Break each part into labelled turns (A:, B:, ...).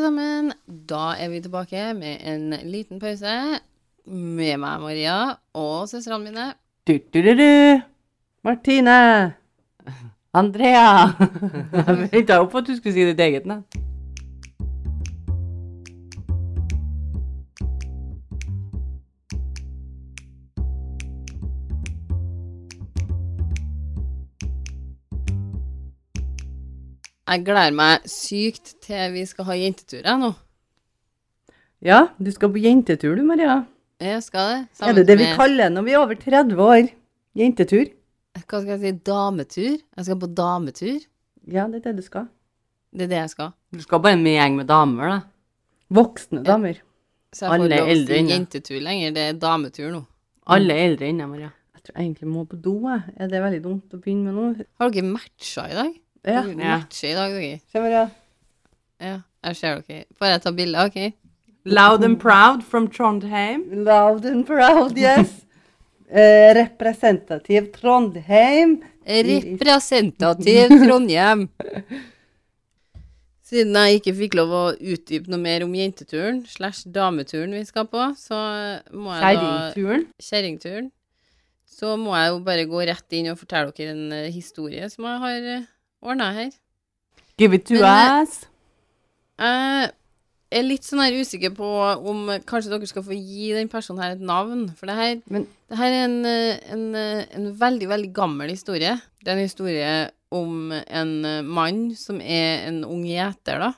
A: sammen. Da er vi tilbake med en liten pause. Med meg, Maria, og søstrene mine.
B: Du-du-du-du! Martine! Andrea! Jeg venta opp at du skulle si ditt eget navn.
A: Jeg gleder meg sykt til vi skal ha jentetur jeg, nå.
B: Ja, du skal på jentetur du, Maria.
A: Jeg skal det.
B: Er det det vi
A: med-
B: kaller når vi er over 30 år? Jentetur?
A: Hva skal jeg si? Dametur? Jeg skal på dametur.
B: Ja, det er det du skal.
A: Det er det jeg skal.
C: Du skal bare med en gjeng med damer, da.
B: Voksne damer.
A: Så jeg får
C: Alle
A: lov til å
C: eldre
A: si
C: inne.
A: jentetur lenger. Det er dametur nå.
C: Alle er eldre enn deg, Maria.
B: Jeg tror jeg egentlig må på do, jeg. Er det veldig dumt å begynne med nå?
A: Har dere matcha i dag?
B: Ja.
A: Dere
C: Ja.
A: Matcher i dag, dere.
B: Se, Maria.
A: Ja, jeg ser dere. Får jeg ta bilde? OK.
C: Loud and proud from Trondheim.
B: Loud and proud, yes. Eh, representativ Trondheim.
A: Representativ Trondheim. Siden jeg ikke fikk lov å utdype noe mer om jenteturen slash dameturen vi skal på, så må jeg da
B: Kjerringturen.
A: Kjerringturen. Så må jeg jo bare gå rett inn og fortelle dere en eh, historie som jeg har ordna her.
C: Give it to
A: Men, eh,
C: us.
A: Jeg er litt sånn her usikker på om kanskje dere skal få gi den personen her et navn. For det her,
B: Men-
A: det her er en, eh, en, eh, en veldig, veldig gammel historie. Det er en historie om en eh, mann som er en ung gjeter, da.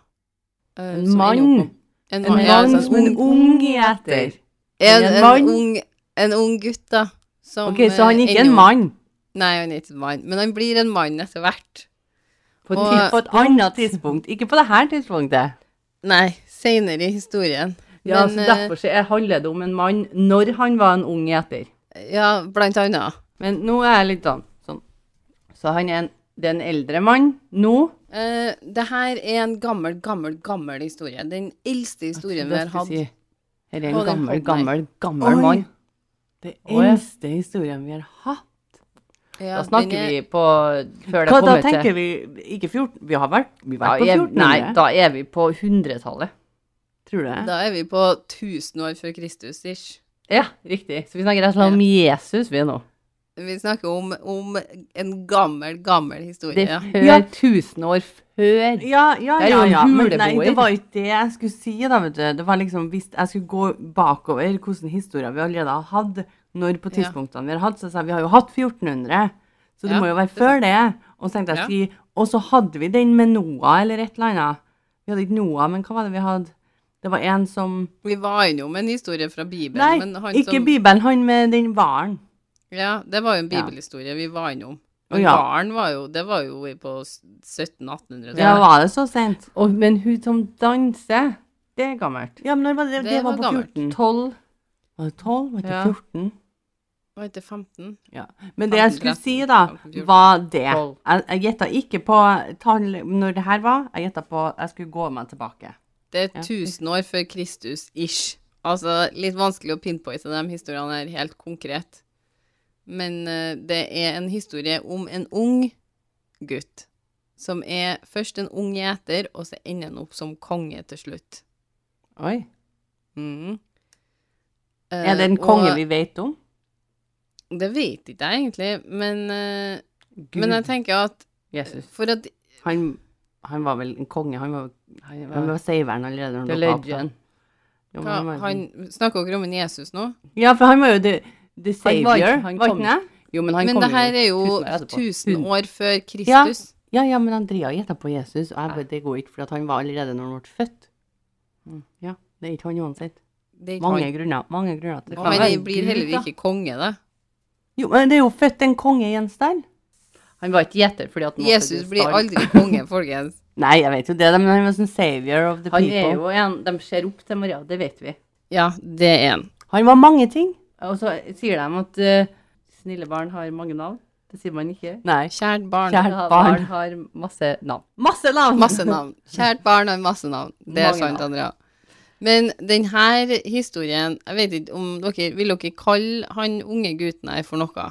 A: Eh,
C: En
A: som
C: mann.
A: ender opp- En,
B: En
A: mann, ja,
B: mann
A: altså,
B: som en ung gjeter.
A: en,
C: en
A: en,
C: mann.
A: ung, en ung gutt, da. Som,
C: Ok, så han er
A: eh,
C: ikke
A: ender
C: en
A: opp-
C: mann.
A: Nei, han er ikke en mann. Men han blir en mann etter hvert.
C: På et,
A: Og-
C: tid- på et annet tidspunkt. Ikke på det her tidspunktet.
A: Nei, seinere i historien.
C: Ja,
A: Men,
C: så
A: eh,
C: Derfor så er- handler det om en mann når han var en ung gjeter.
A: Ja, blant annet.
C: Men nå er jeg litt sånn. sånn. Så han er en, det er en eldre mann nå.
A: Eh, det her er en gammel, gammel, gammel historie. Den eldste historien vi har
C: Det skal
A: hatt.
C: jeg Si. Her er
A: Å,
C: en
A: den
C: gammel,
A: holdt
C: gammel, gammel
B: Oi.
C: mann. Det
B: Å, ja.
C: eldste historien vi har hatt.
A: Ja,
C: Da snakker
A: den er-
C: vi på Før det
B: Hva da
C: kommer til
B: tenker vi? Ikke 14? Vi har vært, vi har
C: Ja,
B: vært
C: jeg,
B: på 1400.
C: nei, da er vi på 100-tallet.
B: tror du det?
A: Da er vi på 1000 år før Kristus, ish.
C: Ja, riktig. Så vi snakker rett og slett om Jesus vi er nå.
A: Vi snakker om, om en gammel, gammel historie.
C: Det
A: Ja.
C: er før
B: Ja.
C: 1000 år før.
B: Ja, ja,
C: Det er
B: ja,
C: jo en
B: ja. Men nei,
C: huleboer.
B: det var ikke det jeg skulle si, da, vet du. Det var liksom hvis jeg skulle gå bakover hvilke historier vi allerede har hatt, når på
A: Ja.
B: tidspunktene vi har hatt, så sa jeg vi har jo hatt 1400, så det
A: Ja,
B: må jo være
A: det er
B: før det. Og så tenkte
A: Ja.
B: jeg si Og så hadde vi den med Noah eller et eller annet. Vi hadde ikke Noah, men hva var det vi hadde? Det var en som
A: Vi var innom en historie fra Bibelen.
B: Nei,
A: men han
B: ikke
A: som,
B: Bibelen, han med den hvalen.
A: Ja, det var jo en
B: Ja.
A: bibelhistorie vi var innom.
B: Å,
A: Men
B: ja.
A: barn var jo, det var jo i- på 1700-1800-tallet.
B: Ja, var det så sent?
C: Og, men hun som danser, det er gammelt.
B: Ja, men når var det, det,
A: Det
B: var,
A: var
B: på
A: gammelt.
B: 14.
C: 12
B: Var det 12? Var det
C: Ja.
B: 14?
A: Var ikke det 15?
B: Men det jeg skulle
A: 15,
B: si, da,
A: 14.
B: var det.
C: Tolv.
B: Jeg, jeg gjetta ikke på tall når det her var, jeg gjetta på jeg skulle gå meg tilbake.
A: Det er
B: Ja.
A: 1000 år før Kristus-ish. Altså litt vanskelig å pinpointe de historiene her helt konkret. Men eh, det er en historie om en ung gutt. Som er først en ung gjeter, og så ender han opp som konge til slutt.
B: Oi.
A: Mhm.
C: Mm.
B: Er det
A: Eh,
B: en konge
A: og
B: vi vet om?
A: Det vet ikke jeg egentlig, men, eh,
B: Gud,
A: men jeg tenker at
C: Jesus.
A: for at
B: han, han var vel en konge? Han var, han var,
C: var-
B: seiveren allerede? når
C: The
B: han dukket opp, da.
C: legend.
B: Ja, men
A: hva,
B: han var-
A: han, Snakker dere om en Jesus nå?
B: Ja, for han var jo the, the
C: Han var ikke-
B: savior,
C: han
B: var
C: kom-
B: ikke det?
C: Jo, men han
A: Men
C: kom
A: det her er
C: tusen
A: jo
C: år etterpå.
A: 1000 år før
B: Ja.
A: Kristus.
B: Ja, ja, men Andrea gjetta på Jesus, og jeg bare, det går ikke, for at han var allerede når han ble født. Mm. Ja, det er ikke han uansett.
A: Det er ikke
B: Mange
A: han.
B: grunner. mange grunner til det
A: Ja,
B: kan
A: men
B: være
A: jeg blir
B: Gud,
A: heller
B: da.
A: ikke konge, da.
B: Jo, men det er jo født en konge i en stall.
C: Han var ikke gjeter fordi at han var
A: Jesus
C: født i
A: blir
C: stall.
A: aldri konge, folkens.
B: Nei, jeg vet jo det, da, men han var sånn savior of the
C: Han
B: people.
C: er jo en De ser opp til Maria, det vet vi.
A: Ja, det er han.
B: Han var mange ting.
C: Og så sier de at eh, snille barn har mange navn. Det sier man ikke.
B: Nei.
A: Kjært barn.
B: Kjært
C: Ja,
B: barn.
C: barn har masse navn.
B: Masse navn!
A: Masse navn. Kjært barn har masse navn. Det er
C: Mange
A: sant,
C: navn.
A: Andrea. Men denne historien Jeg vet ikke om dere Vil dere kalle han unge gutten her for noe?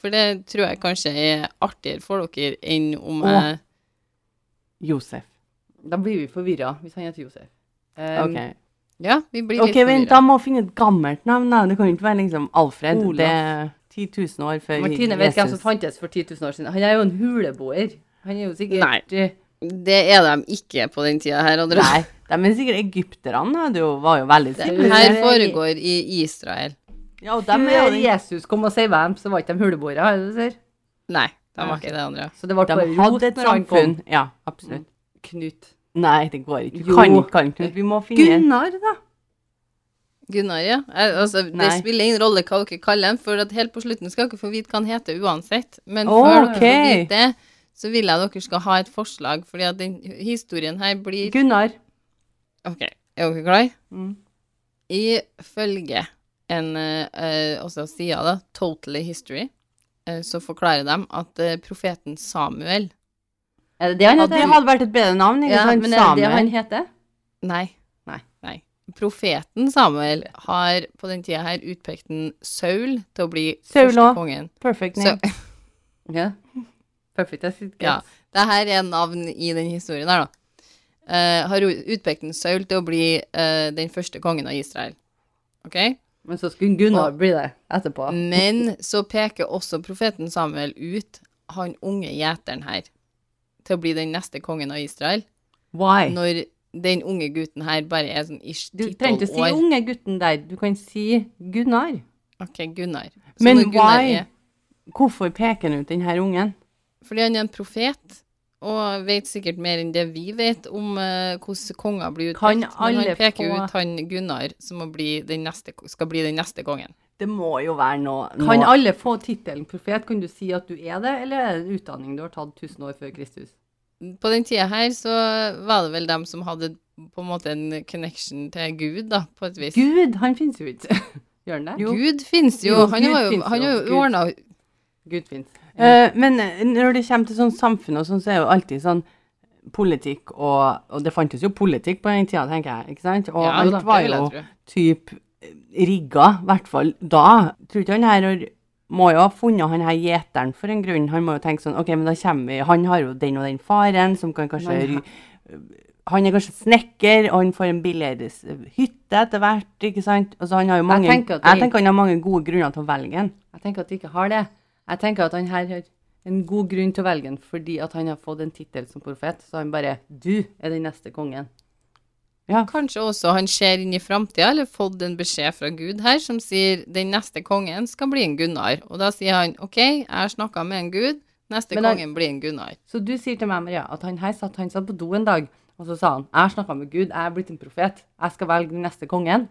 A: For det tror jeg kanskje er artigere for dere enn om
B: Å.
A: jeg
B: Josef.
C: Da blir vi forvirra hvis han heter Josef. Um,
B: Ok,
A: Ja, vi blir litt
B: Ok, vent, da
A: forvirret.
B: må jeg finne et gammelt navn. da. Det kan jo ikke være liksom Alfred.
C: Olav.
B: Det er 10 000 år før
C: Martine vet hvem som fantes for 10 000 år siden. Han er jo en huleboer. Han er jo
A: Nei.
C: sikkert eh,
A: Det er de ikke på den tida her, Oddrun.
B: Nei, de er sikkert egypterne. da. Det jo- var jo veldig
A: Det
B: sikkert.
A: her foregår i Israel.
B: Ja, og dem er jo
C: Før
B: den-
C: Jesus kom og sier hvem, så var ikke de huleboere. er det det du sier?
A: Nei, de var ikke det andre.
C: Så det ble bare
B: de hadde et
C: rot når han kom.
B: samfunn. Ja, absolutt.
C: Knut.
B: Nei, det går ikke. Du
C: Jo.
B: kan ikke Karen Knut. Vi må finne
C: Gunnar, da.
A: Gunnar, ja. Eh, Altså, det
B: Nei.
A: spiller ingen rolle hva dere kaller ham, for at helt på slutten skal dere få vite hva han heter uansett. Men
B: Å,
A: før dere får
B: ok.
A: vite det, så vil jeg dere skal ha et forslag, fordi at den historien her blir
B: Gunnar.
A: Ok, er dere klare?
B: Mm.
A: Ifølge en eh, eh, også sida, da, Totally History, eh, så forklarer de at eh, profeten Samuel
C: Er det det han
B: Ja,
C: heter?
B: det hadde vært et bedre navn. ikke
C: Ja,
B: sant?
C: men er det det
B: Samuel.
C: han heter?
A: Nei.
C: Nei.
A: Profeten Samuel har på den tida her utpekt en Saul til å bli
B: Saul
A: første
B: også.
A: kongen.
B: Perfect
A: Så,
B: name.
C: Ja. Perfekt. Jeg sitter
A: ja, det her er navn i den historien her, da. Eh, har utpekt en Saul til å bli eh, den første kongen av Israel. OK?
C: Men så skulle Gunnar bli det etterpå.
A: Men så peker også profeten Samuel ut han unge gjeteren her til å bli den neste kongen av Israel,
B: Why?
A: når den unge gutten her bare er sånn ish
B: Du trenger ikke
A: 10-12
B: si
A: år.
B: unge gutten der. Du kan si Gunnar.
A: Ok, Gunnar. Så
B: Men
A: når Gunnar
B: why?
A: er-
B: Hvorfor peker han ut den her ungen?
A: Fordi han er en profet, og vet sikkert mer enn det vi vet om eh, hvordan konger blir utpekt.
B: Kan
A: Men
B: alle
A: han peker
B: få-
A: ut han Gunnar, som må bli den neste, skal bli den neste kongen.
B: Det må jo være noe,
C: Kan
B: noe.
C: alle få tittelen profet? Kan du si at du er det, eller er det en utdanning du har tatt 1000 år før Kristus?
A: på den tida her så var det vel dem som hadde på en måte en connection til Gud, da, på et vis.
C: Gud, han finnes jo ikke. Gjør han det?
B: Jo.
A: Gud fins jo.
B: Jo,
A: han
B: Gud
A: var jo,
B: finnes
A: han
B: jo.
A: var
B: Gud.
A: jo ordna
C: Gud finnes.
B: Eh, men eh, når det kommer til sånn samfunn og sånn, så er jo alltid sånn politikk og Og det fantes jo politikk på den tida, tenker jeg, ikke sant? Og
A: Ja,
B: alt
A: da, det
B: var
A: vil jeg
B: jo
A: tro.
B: typ eh, rigga, i hvert fall da. Tror ikke han her har- må jo ha funnet han her gjeteren for en grunn. Han må jo tenke sånn OK, men da kommer vi Han har jo den og den faren som kan kanskje
C: Men
B: ry- Han er kanskje snekker, og han får en billigere s- hytte etter hvert, ikke sant? Altså han har jo mange
C: tenker at det-
B: jeg tenker han har mange gode grunner til å velge en.
C: Jeg tenker at de ikke har det. Jeg tenker at han her har en god grunn til å velge han, fordi at han har fått en tittel som profet. Så han bare Du er den neste kongen.
A: Kanskje også han ser inn i framtida, eller fått en beskjed fra Gud her som sier den neste kongen skal bli en Gunnar. Og da sier han OK, jeg har snakka med en Gud, neste
C: Men han-
A: kongen blir en Gunnar.
C: Så du sier til meg, Maria, at han her satt, han satt på do en dag, og så sa han Jeg har snakka med Gud, jeg er blitt en profet. Jeg skal velge den neste kongen.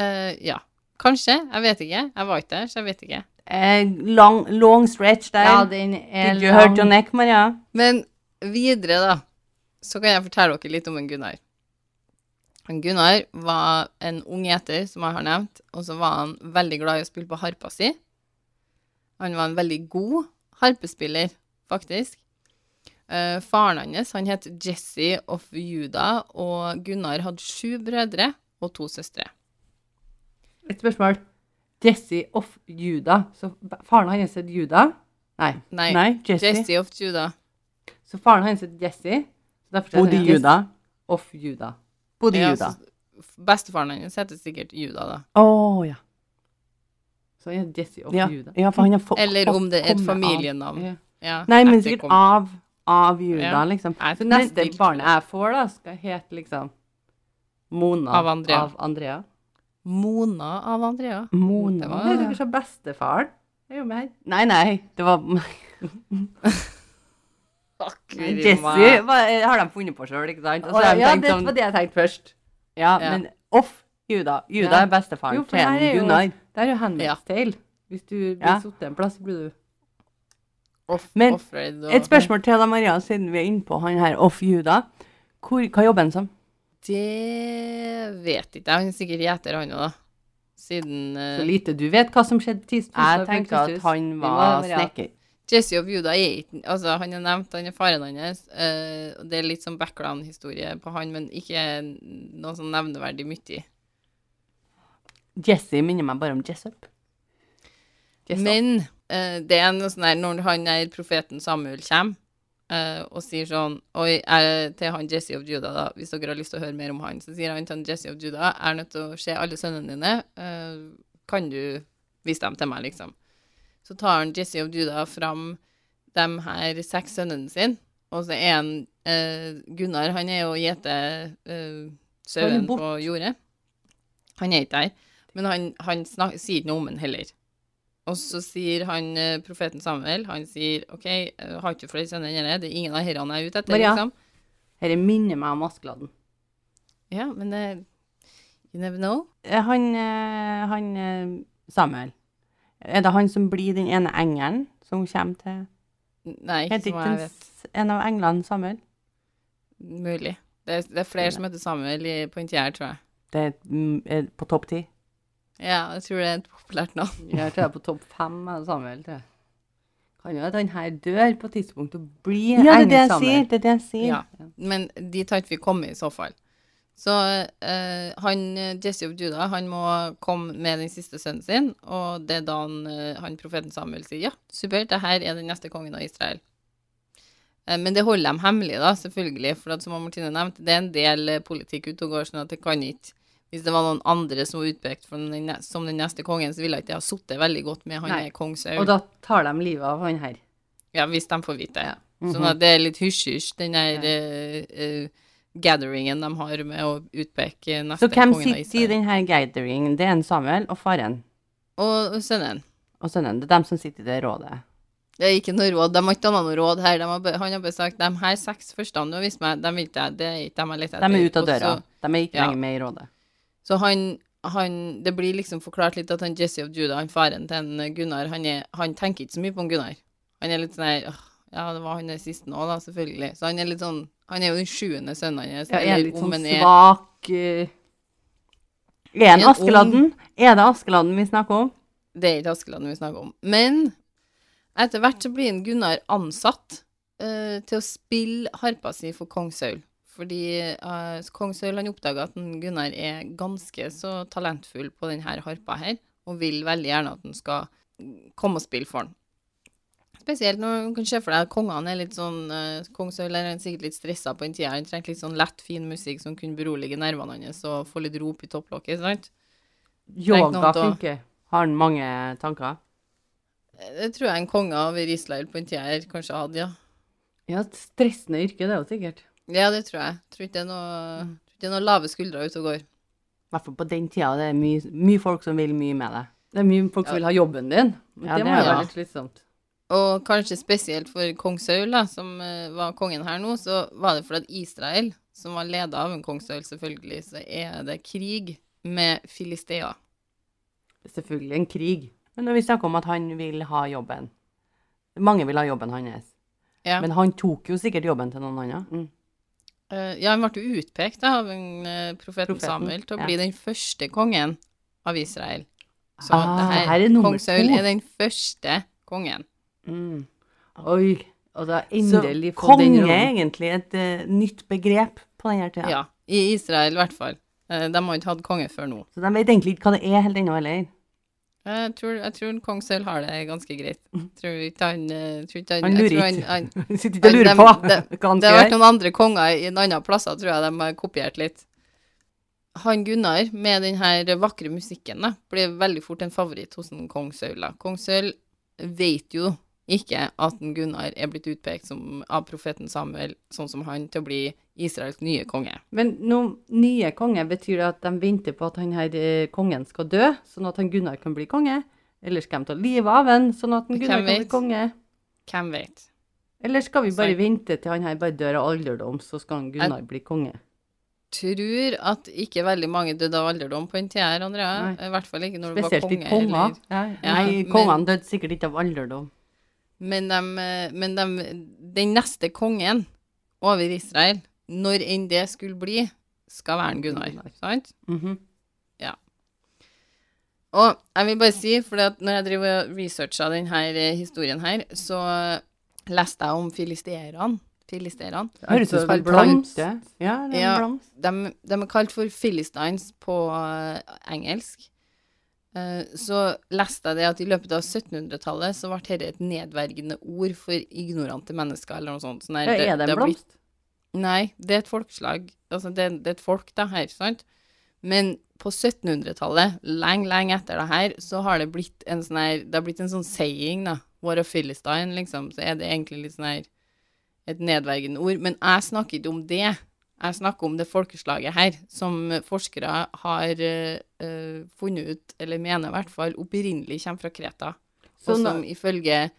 A: Eh, ja. Kanskje. Jeg vet ikke. Jeg var ikke der, så jeg vet ikke.
B: Eh, long, long stretch der.
C: Ja, den er
B: Did you hurt your
C: lang.
B: neck, Maria?
A: Men videre, da, så kan jeg fortelle dere litt om en Gunnar. Han Gunnar var en ung gjeter, som jeg har nevnt, og så var han veldig glad i å spille på harpa si. Han var en veldig god harpespiller, faktisk. Eh, faren hans han het Jesse of Juda, og Gunnar hadde sju brødre og to søstre.
C: Et spørsmål. Jesse of Juda. Så faren hans het Juda. Nei.
A: Nei,
B: Nei, Jesse.
A: Jesse of Juda.
C: Så faren hans het Jesse. Så derfor
B: Bodde i Juda.
C: Of Juda.
B: Bodde i
A: Ja,
B: Juda.
A: så Bestefaren hans heter sikkert Juda, da.
B: Å, ja.
C: Så han het Jesse of
B: Ja.
C: Juda.
B: ja, for han har fått
A: Eller om det er et
B: kommet av-
A: familienavn.
C: Ja.
A: Ja,
B: Nei, men
A: etterkom-
B: sikkert av, av Juda,
A: Ja.
B: liksom.
A: Nei,
C: Så
A: men-
C: neste barnet jeg får, da, skal hete liksom Mona
A: Av Andrea.
C: Av Andrea.
A: Mona av Andrea. Det
B: Mona
A: var-
C: Hei, dere sa bestefaren. Det er jo meg.
B: Nei, nei, det var Jesse
A: Jesse.
B: var- har de funnet på sjøl, ikke sant? Og så
C: Å,
B: har de
C: ja,
B: tenkt
C: det
B: sånn
C: var det jeg tenkte først.
B: Ja,
A: Ja.
B: men off Juda. Juda
C: Ja.
B: er bestefaren
C: Jo, for
B: til
C: det her er
B: en
C: jo-
B: Gunnar.
C: Det er jo Handmaid's
A: Ja.
C: Tale. Hvis du blir
B: Ja.
C: sittet en plass, så blir du
A: Off,
B: Men,
A: offred og-
B: Et spørsmål til deg, Maria, siden vi er innpå han her off Juda. Hvor, hva jobber han som?
A: Det vet ikke jeg. Han er sikkert gjeter, han òg, da. Siden eh,
C: Så lite du vet hva som skjedde 10 000 år før
B: Jeg tenker at
C: Kristus.
B: han
C: Vi må
B: var
C: være-
B: snekker.
A: Jesse of Judah er ikke Altså, han er nevnt, han er faren hans. eh, og det er litt sånn background-historie på han, men ikke noe sånn nevneverdig mye.
B: Jesse minner meg bare om Jessup.
C: Yes, da.
A: Men eh, det er noe sånn her når han er profeten Samuel kommer, eh, og sier sånn Oi, jeg, til han Jesse of Judah, da, hvis dere har lyst til å høre mer om han, så sier han til han Jesse of Judah Jeg er nødt til å se alle sønnene dine. eh, kan du vise dem til meg, liksom? Så tar han Jesse of Judah fram de her seks sønnene sine, og så er han eh, Gunnar, han er jo gjetesauen
C: borte.
A: på jordet. Han er ikke der. Men han, han snak, sier ikke noe om han heller. Og så sier han eh, profeten Samuel, han sier OK, jeg har ikke flere sønner enn dette, det er ingen av herrene jeg er ute etter,
C: Maria.
A: liksom.
C: Dette minner meg om Askeladden.
A: Ja, men det You never know.
B: Eh, Han, eh, han eh, Samuel. Er det han som blir den ene engelen som kommer til
A: Nei, ikke som
B: Heter ikke
A: jeg
B: en,
A: vet.
B: s- en av englene Samuel?
A: Mulig. Det er, det er flere som heter Samuel i, på Intier, tror jeg.
B: Det er mm, er på topp ti.
A: Ja, jeg tror det er et populært navn.
C: Jeg tror jeg er på topp fem med Samuel, tror jeg. Kan jo at han her dør på et tidspunkt og blir
B: Ja, det
C: engel
B: er det jeg sier.
C: Samuel.
B: Det er det jeg sier.
A: Ja, men dit har ikke vi kommet i så fall. Så eh, han, eh, Jesse of Judah han må komme med den siste sønnen sin, og det er da han, eh, han profeten Samuel sier ja, supert, det her er den neste kongen av Israel. Eh, men det holder de hemmelig, da, selvfølgelig, for at, som Martine nevnte, det er en del eh, politikk ute og går, sånn at det kan ikke Hvis det var noen andre som var utpekt for den, ne- som den neste kongen, så ville ikke det ha sittet veldig godt med han
C: Nei.
A: er kong Saul.
C: Og da tar de livet av han her.
A: Ja, hvis de får vite det. Sånn
B: Mhm.
A: at det er litt hysj-hysj, den der eh, eh, gatheringen de har med å utpeke neste
B: Så hvem
A: kongen av
B: sitter i
A: Israel.
B: denne gatheringen? Det er en Samuel og faren
A: Og sønnen.
B: og sønnen. Det er dem som sitter i det rådet.
A: Det er ikke noe råd. De har ikke dannet noe råd her. De har, bare- han har bare sagt de her seks første du har vist meg, dem vil ikke jeg. Det er ikke dem jeg leter
B: De
A: etter.
B: er ute av
A: Og så-
B: døra. De er ikke
A: ja.
B: lenger med i rådet.
A: Så han, han Det blir liksom forklart litt at han Jesse of Judah, han faren til en Gunnar, han, er, han tenker ikke så mye på en Gunnar. Han er litt sånn her «Åh, Ja, det var han der siste nå, da, selvfølgelig. Så han er litt sånn Han er jo den sjuende sønnen hans.
C: Ja,
A: eller
C: en litt
A: om
C: sånn
A: han er-
C: svak eh,
B: Er
A: En
B: han Askeladden? Er det Askeladden vi snakker om?
A: Det er ikke Askeladden vi snakker om. Men etter hvert så blir en Gunnar ansatt eh, til å spille harpa si for kong Saul. Fordi eh, kong Saul han oppdaga at en Gunnar er ganske så talentfull på denne harpa her, og vil veldig gjerne at han skal komme og spille for han. Spesielt når du kan se for deg at kongene er litt sånn eh, Kong Saul er sikkert litt stressa på den tida. Han trengte litt sånn lett, fin musikk som kunne berolige nervene hans og få litt rop i topplokket, sant? Tenk
C: Yoga
A: noe annet,
C: funker.
B: Har han mange tanker?
A: Eh, Det tror jeg en konge over Israel på den tida her kanskje hadde, ja.
C: Ja, et stressende yrke, det er jo sikkert.
A: Ja, det tror jeg. Tror ikke det er noe,
C: Mm.
A: tror ikke det er noe lave skuldre ute og går.
B: I hvert fall på den tida. Det er mye, mye folk som vil mye med det.
C: Det er mye folk
A: Ja.
C: som vil ha jobben din. men det
B: Ja, det
C: må
A: er
C: jo være
A: det.
C: litt slitsomt.
A: Og kanskje spesielt for kong Saul, da, som eh, var kongen her nå, så var det fordi at Israel, som var leda av en kong Saul, selvfølgelig, så er det krig med filistea.
C: Det er selvfølgelig en krig.
B: Men når vi snakker om at han vil ha jobben Mange vil ha jobben hans.
A: Ja.
B: Men han tok jo sikkert jobben til noen andre.
A: Eh, ja, han ble jo utpekt da, av en, eh, profeten,
B: Profeten,
A: Samuel til å
B: ja.
A: bli den første kongen av Israel. Så
B: Ah,
A: det her,
C: her er nummer
A: kong Saul
C: to.
A: er den første kongen.
C: Oi. Og da
B: Så
C: endelig få den
B: konge er
C: rollen.
B: egentlig et eh, nytt begrep på denne tida.
A: Ja. I Israel, i hvert fall. Eh, de har ikke hatt konge før nå.
B: Så de vet egentlig ikke hva det er helt ennå heller.
A: Jeg tror, jeg tror kong Sølv har det ganske greit. Tror ikke han eh, tror ikke han,
B: Han
A: jeg
B: lurer
A: tror
B: ikke.
A: Han, han,
B: Sitter ikke og lurer
A: Dem-
B: på
A: dem-
B: hva han
A: det har
B: skal
A: vært
B: gjøre.
A: noen andre konger i en annen plasser, tror jeg de har kopiert litt. Han Gunnar, med den her vakre musikken, da, blir veldig fort en favoritt hos en kong Sølv. da. Kong Sølv vet jo ikke at en Gunnar er blitt utpekt som, av profeten Samuel, sånn som han, til å bli Israels nye konge.
C: Men nå, nye konge, betyr det at de venter på at han her eh, kongen skal dø, sånn at han Gunnar kan bli konge? Eller skal de ta livet av han, sånn at han
A: Hvem
C: Gunnar kan
A: vet?
C: bli konge?
A: Hvem vet?
C: Eller skal vi
A: Så-
C: bare vente til han her bare dør av alderdom, så skal han Gunnar bli konge?
A: Tror at ikke veldig mange døde av alderdom på den tida, her, Andrea. I hvert fall ikke når du var
C: Spesielt
A: konge.
C: de konger.
A: eller-
C: Ja.
A: Ja,
B: Nei,
A: men-
B: kongene døde sikkert ikke av alderdom.
A: Men, dem, eh, men dem, den neste kongen over Israel, når enn det skulle bli, skal være en Gunnar.
C: Gunnar.
A: Sant?
C: Mhm.
A: Og jeg vil bare si, for at når jeg driver og researcha denne eh, historien her, så leste jeg om filisterene. Filisterene.
B: Høres ut
C: Altså,
B: som en
C: blomst.
B: plante. Ja, det er
A: Ja.
B: en blomst.
A: De, de er kalt for philistines på eh, engelsk. Eh, Så leste jeg det at i løpet av 1700-tallet så ble dette et nedverdigende ord for ignorante mennesker, eller noe sånt. Sånn her,
C: Ja, er det en
A: har blitt-
C: blomst?
A: Nei, det er et folkeslag. Altså, det, det er et folk, da, her, sant? Men på 1700-tallet, lenge, lenge etter det her, så har det blitt en sånn her Det har blitt en sånn saying, da. War of Philistine, liksom. Så er det egentlig litt sånn her Et nedverdigende ord. Men jeg snakker ikke om det. Jeg snakker om det folkeslaget her, som forskere har eh, eh, funnet ut, eller mener i hvert fall, opprinnelig kommer fra Kreta.
C: Så
A: og
C: nå-
A: som ifølge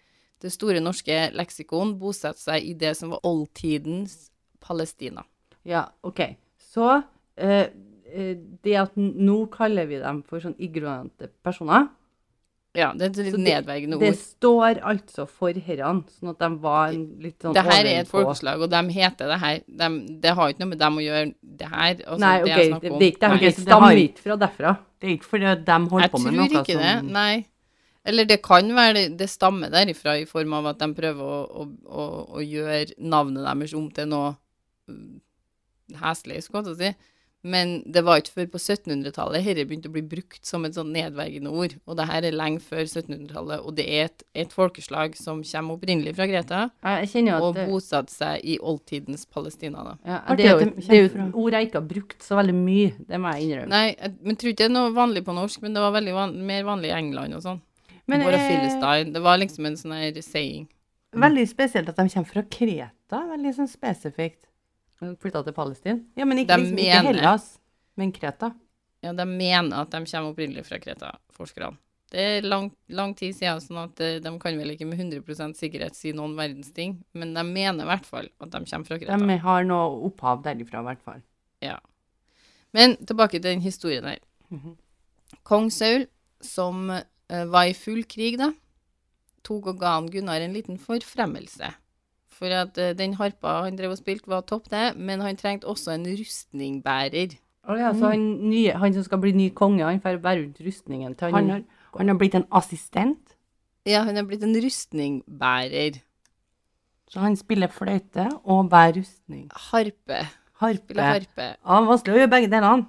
A: det store norske leksikon bosetter seg i det som var oldtidens Palestina.
C: Ja, OK. Så eh, eh, det at n- nå kaller vi dem for sånn ignorante personer
A: Ja, det er et litt
C: Så det-
A: nedverdigende
C: Det
A: ord.
C: står altså for herrene, sånn at de var en litt sånn
A: Det her er et
C: ovenpå.
A: folkeslag, og de heter det her. De, det har ikke noe med dem å gjøre, det her. altså,
C: Nei,
A: det
C: OK,
A: jeg
C: det,
A: snakker om.
C: det er ikke dem.
A: Nei.
C: Det
B: så det har-
C: stammer ikke fra derfra.
B: Det er ikke fordi at de holder
A: Jeg
B: på
A: tror
B: med noe
A: ikke det,
B: som
A: nei. Eller det kan være det, det stammer derifra, i form av at de prøver å, å, å, å gjøre navnet deres om til noe mm, heslig, skulle jeg til å si. Men det var ikke før på 1700-tallet dette begynte å bli brukt som et sånn nedverdigende ord. Og det her er lenge før 1700-tallet, og det er et, et folkeslag som kommer opprinnelig fra Greta,
C: Jeg jeg kjenner jo
A: og
C: at det-
A: bosatte seg i oldtidens Palestina, da.
C: ja,
B: Artig
C: det, er
B: at
C: jo,
B: de
C: det er jo
B: kjenner
C: et ord jeg ikke har brukt så veldig mye, det må jeg innrømme.
A: Nei, jeg, men tror ikke det er noe vanlig på norsk, men det var veldig van, mer vanlig i England og sånn.
B: Men
A: Bare
B: eh,
A: Philistine. Det var liksom en sånn her saying.
C: Mm.
B: veldig spesielt at de kommer fra Kreta. Veldig sånn spesifikt.
C: Flytta Mm, til Palestina.
B: Ja, men
A: De
B: ikke, liksom, ikke
A: mener-
B: Hellas, men Kreta.
A: Ja, de mener at de kommer opprinnelig fra Kreta, forskerne. Det er lang, lang tid siden, sånn at eh, de kan vel ikke med 100 sikkerhet si noen verdens ting, men de mener i hvert fall at de kommer fra Kreta.
B: De har noe opphav derifra, i hvert fall.
A: Men tilbake til den historien her.
B: Mhm.
A: Kong Saul, som eh, var i full krig da, tok og ga han Gunnar en liten forfremmelse. For at eh, den harpa han drev og spilte var topp det, men han trengte også en rustningbærer.
C: Å ja,
B: Mm.
C: så han, nye, han som skal bli ny konge, han får bære rundt rustningen til han,
B: Han har, han har blitt en assistent,
A: Ja, han er blitt en rustningbærer.
B: så han spiller fløyte og bærer rustning.
A: Harpe.
B: Harpe.
A: Spiller harpe.
B: Ja, vanskelig å gjøre begge delene.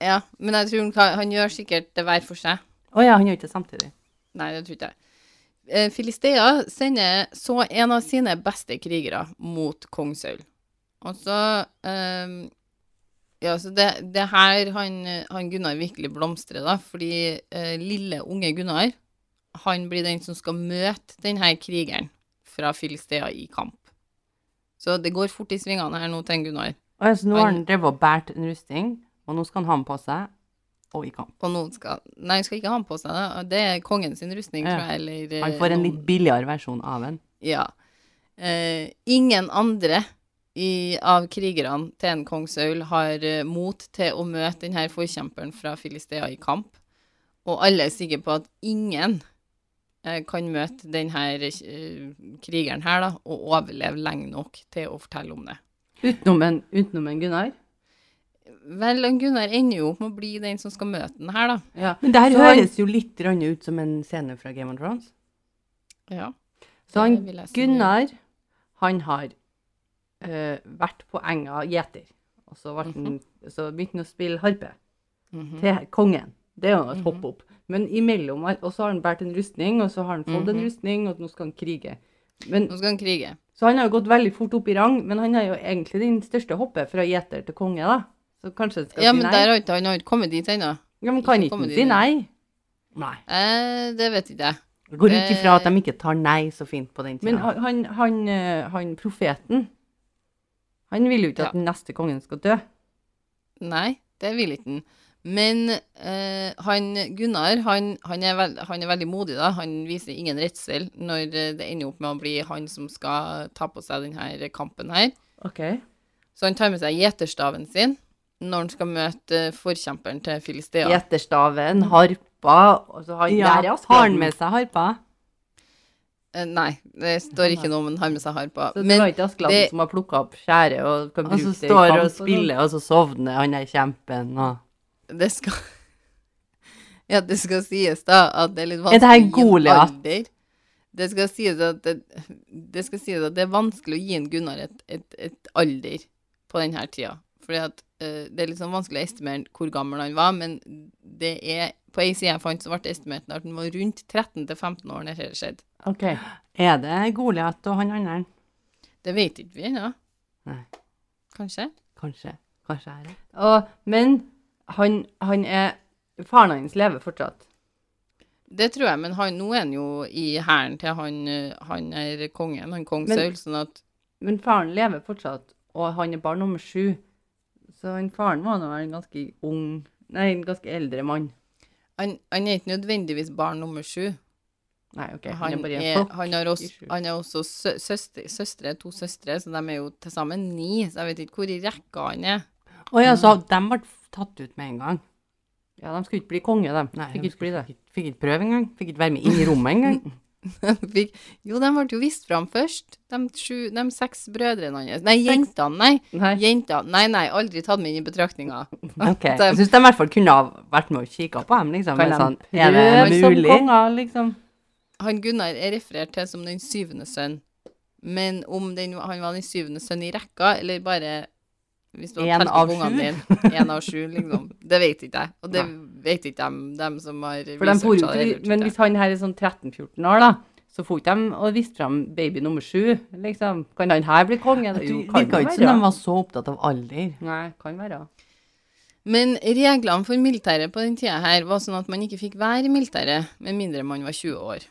A: Ja, men jeg tror han, kan- han gjør sikkert det hver for seg.
B: Å ja, han gjør ikke det samtidig.
A: Nei, det tror ikke jeg. Eh, Filistea sender så en av sine beste krigere mot kong Saul. Og så eh, Ja, så det, det her han, han Gunnar virkelig blomstrer, da. Fordi eh, lille, unge Gunnar, han blir den som skal møte denne krigeren fra Filistea i kamp. Så det går fort i svingene her nå til en Gunnar.
B: Å ja, så nå har
A: Han-
B: han drevet og båret en rustning, og nå skal han ha den på seg, og i kamp.
A: Og noen skal Nei, han skal ikke ha den på seg, da. Det er kongen sin rustning,
B: Ja.
A: tror jeg. Eller, eh,
B: Han får en
A: noen-
B: litt billigere versjon av den.
A: Ja. Eh, ingen andre i, av krigerne til en kong Saul har eh, mot til å møte denne forkjemperen fra Filistea i kamp. Og alle er sikre på at ingen eh, kan møte denne eh, krigeren her da, og overleve lenge nok til å fortelle om det.
C: utenom, en, utenom en Gunnar.
A: Vel, han Gunnar ender jo opp med å bli den som skal møte den her, da.
C: Ja.
B: Men det her
C: Så han-
B: høres jo litt grann ut som en scene fra Game of Thrones.
A: Ja.
C: Så han
A: Det Eh, vil jeg si.
C: Gunnar, han har eh, vært på enga gjeter. Og så, ble han, så begynte han å spille harpe
A: Mhm.
C: til kongen. Det er jo et hopp opp. Men imellom her- Og så har han båret en rustning, og så har han fått
A: Mhm.
C: en rustning, og nå skal han krige. Men,
A: Nå skal han krige.
C: så han har jo gått veldig fort opp i rang, men han er jo egentlig den største hoppet fra gjeter til konge, da. Så kanskje han skal
A: Ja,
C: si
A: men
C: nei?
A: der har ikke han har ikke kommet dit ennå.
C: Ja, men kan
A: ikke
C: ikke
A: komme
C: han
A: dit
C: si
A: ennå.
C: nei?
B: Nei.
A: Eh, det vet ikke jeg.
B: Det går ut ifra at
A: Eh.
B: de ikke tar nei så fint på den
C: Men
B: tida.
C: han, han, han, eh, han profeten, han vil jo ikke
A: Ja.
C: at den neste kongen skal dø.
A: Nei, det vil ikke han. Men eh, han Gunnar, han, han, er vel- han er veldig modig, da. Han viser ingen redsel når eh, det ender opp med å bli han som skal ta på seg denne kampen her.
C: Ok.
A: Så han tar med seg gjeterstaven sin når han skal møte eh, forkjemperen til Filistea.
C: Gjeterstaven, harpa, og så har
B: ja,
C: der er
B: har han
C: Asbjørn.
B: med seg harpa?
A: Eh, nei, det står ikke noe om han har med seg harpa.
C: Så det
A: Men
C: var ikke Askeladden
A: det-
C: som har plukket opp skjæret og kan
B: Og
C: bruke
B: så
C: det i kamp.
B: Altså, står og
C: sånn.
B: spiller, og så sovner han der kjempen og
A: det skal Ja, det skal sies, da, at det er litt
B: Er det
A: vanskelig
B: her
A: å gi en
B: Goliat?
A: alder. Det skal sies at det, det skal sies at det er vanskelig å gi en Gunnar et, et, et alder på denne tida. Fordi at eh, det er litt sånn vanskelig å estimere hvor gammel han var, men det er På ei side jeg fant, så ble det estimert at den var rundt 13 til 15 år når dette skjedde.
C: OK.
B: Er det Goliat og han andre?
A: Det vet ikke vi ennå.
B: Nei.
A: Kanskje.
B: Kanskje. Kanskje er det.
C: Og, men han, han er Faren hans lever fortsatt.
A: Det tror jeg, men han, nå er han jo i hæren til han, eh, han er kongen, han kong
C: Men-
A: Saul, sånn at
C: Men faren lever fortsatt, og han er barn nummer sju. Så han faren var nå en ganske ung Nei, en ganske eldre mann.
A: han, han er ikke nødvendigvis barn nummer sju.
C: Nei, OK. Han,
A: Han,
C: er bare
A: er,
C: en flokk.
A: han, har også,
C: i sju.
A: han har også sø, søstre, søstre, to søstre, så de er jo til sammen ni, så jeg vet ikke hvor i rekka han er.
B: Å ja, så de ble tatt ut med en gang.
C: Ja, de skulle ikke bli konge, de.
B: Nei,
C: Fikk
B: de
C: ikke bli det.
B: Fikk, ikke- fikk ikke prøve engang. Fikk ikke være med inn i rommet engang.
A: Fikk, jo, de ble jo vist fram først, de, sju, de seks brødrene hans. Nei, jentene, nei.
C: Nei.
A: Jentene, nei, nei, aldri tatt med inn i betraktninga.
B: Ok, Jeg syns de i hvert fall kunne ha vært med og kikka på dem, liksom.
C: Kan
B: Men
C: de
B: sånn, er
C: prøve
B: det
C: som
B: mulig?
C: konger, liksom?
A: Han Gunnar er referert til som den syvende sønn. Men om den, han var den syvende sønn i rekka, eller bare hvis du har
B: En
A: telt
B: av
A: opp ungene
B: sju?
A: dine. Én av sju, liksom. Det vet ikke jeg. Og det vet ikke dem, dem som har
C: For de for jo
A: researcha det.
C: ikke,
A: eller
C: men
A: ikke.
C: hvis han her er sånn 13-14 år, da, så får ikke de å vise fram baby nummer sju, liksom. Kan han her bli konge?
B: Det
C: Jo, kan
B: virka
C: jo
B: ikke som de
C: være.
B: var så opptatt av alder.
C: Nei, kan være.
A: Men reglene for militæret på den tida her var sånn at man ikke fikk være i militæret med mindre man var 20 år.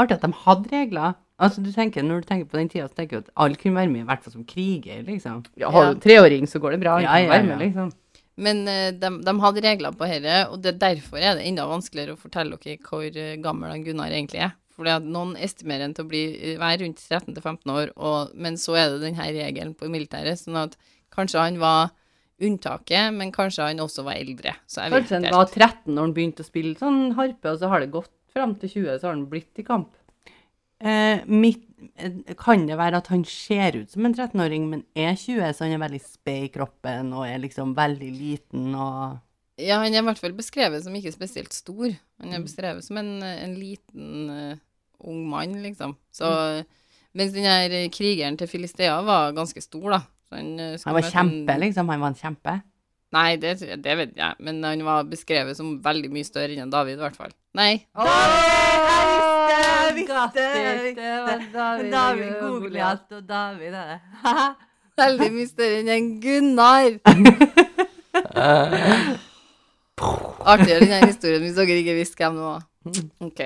B: Artig at de hadde regler. Altså, du tenker, Når du tenker på den tida, så tenker du at alle kunne være med, i hvert fall som kriger, liksom.
C: Ja, har du treåring, så går det bra. Han
B: Ja,
C: kan
B: ja,
C: være
B: ja.
C: med, liksom.
A: Men eh, de, de hadde regler på dette, og det, derfor er det enda vanskeligere å fortelle dere hvor eh, gammel han Gunnar egentlig er. Fordi at noen estimerer han til å bli, eh, være rundt 13-15 år, og, men så er det denne regelen på militæret. Sånn at kanskje han var unntaket, men kanskje han også var eldre. Så jeg vet
C: Kanskje han
A: ikke
C: var
A: helt.
C: 13 når han begynte å spille sånn harpe, og så har det gått fram til 20, så har han blitt i kamp.
B: Eh, mitt, eh, kan det være at han ser ut som en 13-åring, men er 20, så han er veldig sped i kroppen og er liksom veldig liten og
A: Ja, han er i hvert fall beskrevet som ikke spesielt stor. Han er beskrevet som en, eh, en liten eh, ung mann, liksom. Så, Mens den her eh, krigeren til Filistea var ganske stor, da. Så han, eh, skulle
B: Han var
A: møte en-
B: kjempe, liksom. Han var en kjempe.
A: Nei, det, tror jeg- det vet jeg, men han var beskrevet som veldig mye større enn David, i hvert fall. Nei,
B: jeg visste, jeg visste, jeg
C: Grattis, det var David, og Goliat.
B: og David er det.
A: veldig mye større enn en Gunnar! Artigere denne historien hvis dere ikke visste hvem det var. Ok,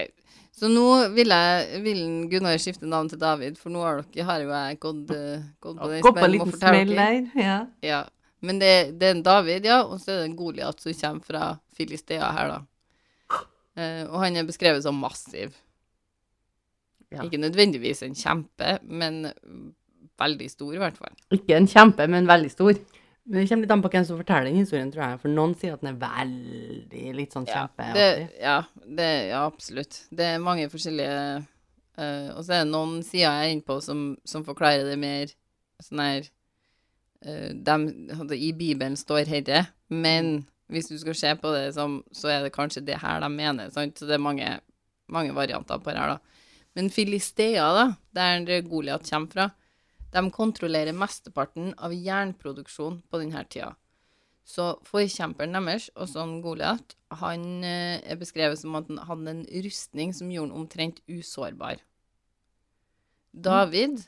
A: så nå vil, jeg, vil Gunnar skifte navn til David, for nå har dere har jo jeg gått, eh, gått på den
B: Gå på
A: smellen
B: en
A: med å
B: liten
A: fortelle
B: smell
A: dere.
B: der. Ja.
A: Ja. Men det, det er en David, ja, og så er det en Goliat som kommer fra Filistea her, da. Eh, og han er beskrevet som massiv.
C: Ja.
A: Ikke nødvendigvis en kjempe, men veldig stor, i hvert fall.
C: Ikke en kjempe, men veldig stor.
B: Men Det kommer litt an på hvem som forteller den historien, tror jeg. For noen sier at den er veldig litt sånn kjempe.
A: det, ja, det, ja, absolutt. Det er mange forskjellige eh, Og så er det noen sider jeg er inne på som, som forklarer det mer sånn her eh, dem, altså, I Bibelen står herre, men hvis du skal se på det som Så er det kanskje det her de mener, sant? Så det er mange, mange varianter på det her, da. Men Filistea, da, der Goliat kommer fra, de kontrollerer mesteparten av jernproduksjon på denne tida. Så forkjemperen deres, også han Goliat, han eh, er beskrevet som at han hadde en rustning som gjorde han omtrent usårbar. David,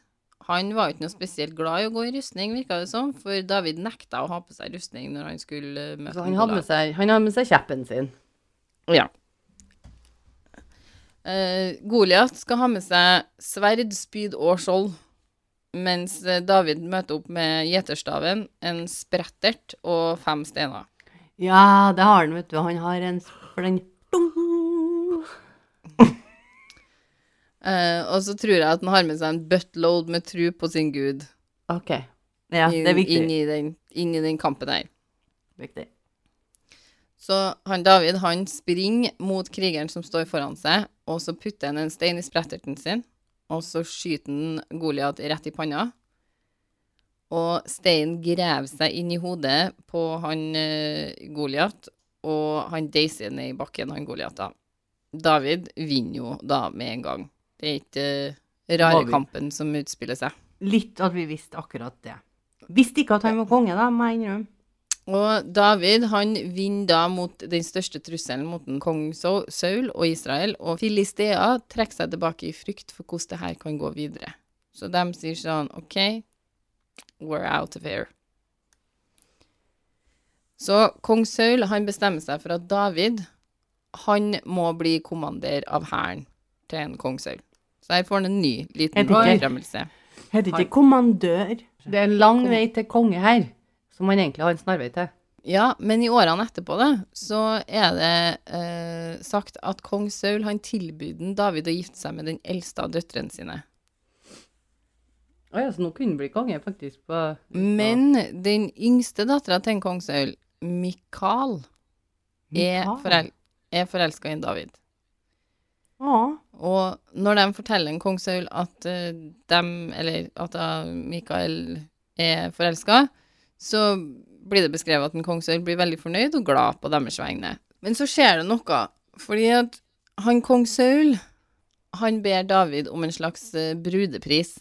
A: han var ikke noe spesielt glad i å gå i rustning, virka det som, for David nekta å ha på seg rustning når han skulle eh, møte
C: Så han hadde med
A: Goliat.
C: seg, han hadde med seg kjeppen sin.
A: Ja. Eh, Goliat skal ha med seg sverd, spyd og skjold, mens eh, David møter opp med gjeterstaven, en sprettert og fem steiner.
B: Ja, det har han, vet du. Han har en s- For den Dung!
A: Eh, og så tror jeg at han har med seg en buttload med tru på sin gud
C: Ok.
B: Ja,
A: inn,
B: det er viktig.
A: inn, i den, inn i den kampen her.
B: viktig.
A: Så han David han springer mot krigeren som står foran seg, og så putter han en stein i spretterten sin, og så skyter han Goliat rett i panna. Og steinen graver seg inn i hodet på han eh, Goliat, og han deiser ned i bakken, han Goliat, da. David vinner jo da med en gang. Det er ikke eh, rare
B: David.
A: kampen som utspiller seg.
B: Litt at vi visste akkurat det. Visste ikke at han var konge, da, må jeg innrømme.
A: Og David han vinner da mot den største trusselen mot en kong Sau- Saul og Israel, og Filistea trekker seg tilbake i frykt for hvordan det her kan gå videre. Så de sier sånn OK, we're out of here. Så kong Saul han bestemmer seg for at David han må bli kommander av hæren til en kong Saul. Så her får han en ny liten
B: Jeg tenker-
A: innrømmelse.
B: Heter ikke kommandør?
C: Det er en lang vei til konge her, som han egentlig har en snarvei til.
A: Ja, men i årene etterpå det, så er det eh, sagt at kong Saul han tilbød den David å gifte seg med den eldste av døtrene sine.
C: Å ja, så nå kunne han bli konge, faktisk. På,
A: Men den yngste dattera til en kong Saul, Mikael, er,
B: Mikael?
A: forel er forelska i en David.
B: Ja.
A: Og når de forteller en kong Saul at eh, dem, eller at da Mikael er forelska, så blir det beskrevet at en kong Saul blir veldig fornøyd og glad på deres vegne. Men så skjer det noe, fordi at han kong Saul, han ber David om en slags eh, brudepris.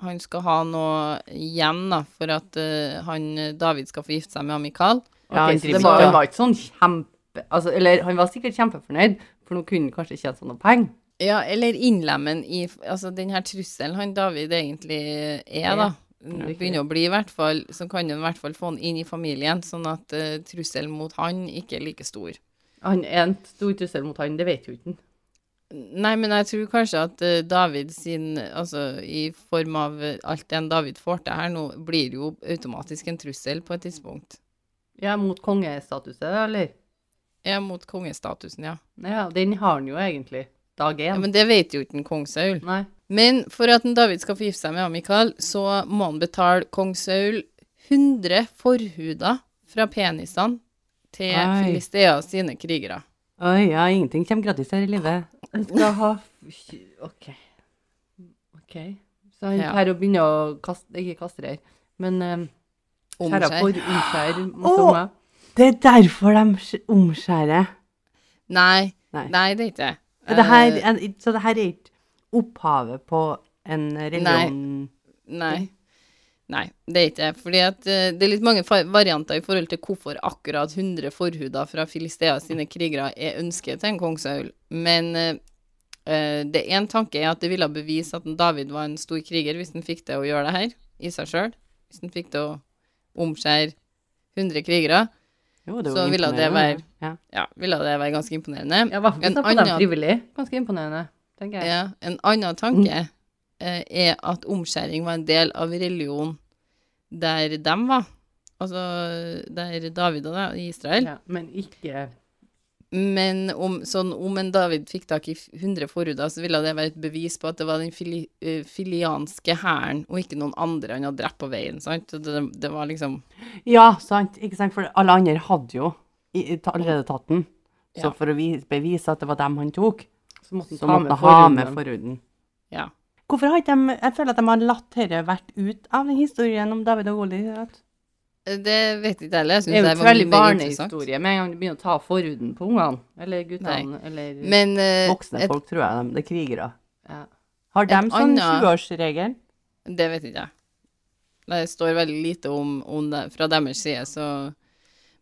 A: Han skal ha noe igjen da, for at eh, han, David skal få gifte seg med han Mikael.
C: ja,
B: Ok,
C: han,
B: så
C: det
B: det
C: var,
B: var-
C: han var ikke sånn kjempe... Altså, eller han var sikkert kjempefornøyd, for nå kunne han kanskje tjene seg noe penger.
A: Ja, eller innlemmen i altså, den her trusselen han David egentlig er, da.
C: riktig.
A: Begynner å bli, i hvert fall. Så kan han i hvert fall få han inn i familien, sånn at eh, trusselen mot han ikke er like stor.
C: Han er en stor trussel mot han, det vet jo ikke han.
A: Nei, men jeg tror kanskje at eh, David sin Altså i form av eh, alt det en David får til her nå, blir jo automatisk en trussel på et tidspunkt.
C: Ja, mot kongestatuset, eller?
A: Ja, mot kongestatusen, ja.
C: Ja, den har han jo egentlig. Dag
A: ja.
C: én.
A: Men det vet jo ikke en kong Saul.
C: Nei.
A: Men for at en David skal få gifte seg med han Mikael, så må han betale kong Saul 100 forhuder fra penisene til
B: Oi.
A: Filistea sine krigere.
B: Oi, ja, ingenting kommer gratis her i livet.
C: Han skal ha OK. OK. Så han
A: Ja.
C: her å begynne å kaste Ikke kastrere, men um, skjære
A: Omskjær.
C: for omskjære masse
B: Å!
C: unger.
B: Det er derfor de sk- omskjærer.
A: Nei,
B: Nei.
A: nei, det er ikke det.
B: Er Det her,
A: Eh,
B: er, så det her er ikke opphavet på en religion?
A: Nei. Nei, det er ikke det. Fordi at eh, det er litt mange fa- varianter i forhold til hvorfor akkurat 100 forhuder fra Filistea sine krigere er ønsket til en kong Saul. Men eh, eh, det er en tanke er at det ville bevise at en David var en stor kriger hvis han fikk til å gjøre det her i seg sjøl. Hvis han fikk til å omskjære 100 krigere,
B: Jo, det er jo
A: Så ville det
B: imponerende,
A: være-
B: Ja.
A: ja, ville det være ganske imponerende.
C: Ja, i hvert
A: En
C: fall hvis de får dem
A: annen-
C: frivillig. Ganske imponerende, tenker jeg.
A: Ja, en annen tanke eh, er at omskjæring var en del av religion der dem var. Altså der David og da, i Israel.
C: Ja, men ikke
A: Men om, sånn, om en David fikk tak i 100 forhuder, så ville det være et bevis på at det var den fili, eh, filianske hæren, og ikke noen andre han hadde drept på veien. sant? Så Det, det var liksom
B: ja, sant. Ikke sant? For alle andre hadde jo i- i- ta- allerede tatt den.
A: Ja.
B: Så for å vi- bevise at det var dem han tok,
C: Så måtte
B: så
C: han ta
B: måtte
C: med
B: han ha med
C: forhuden.
B: forhuden.
A: Ja.
B: Hvorfor har ikke de Jeg føler at de har latt dette vært ut av den historien om David og Goliat.
A: Eh, Det vet ikke jeg heller. Jeg syns
C: Det er jo
A: det
C: ikke
A: var
C: veldig
A: mindre interessant.
C: barnehistorie med en gang du begynner å ta forhuden på ungene. Eller guttene, eller
A: Men eh,
B: Voksne folk, tror jeg. De, det er krigere.
C: ja.
B: Har de
A: En
B: sånn
A: annen-
B: 20-årsregel?
A: Det vet ikke jeg. Det står veldig lite om, om det fra deres side, så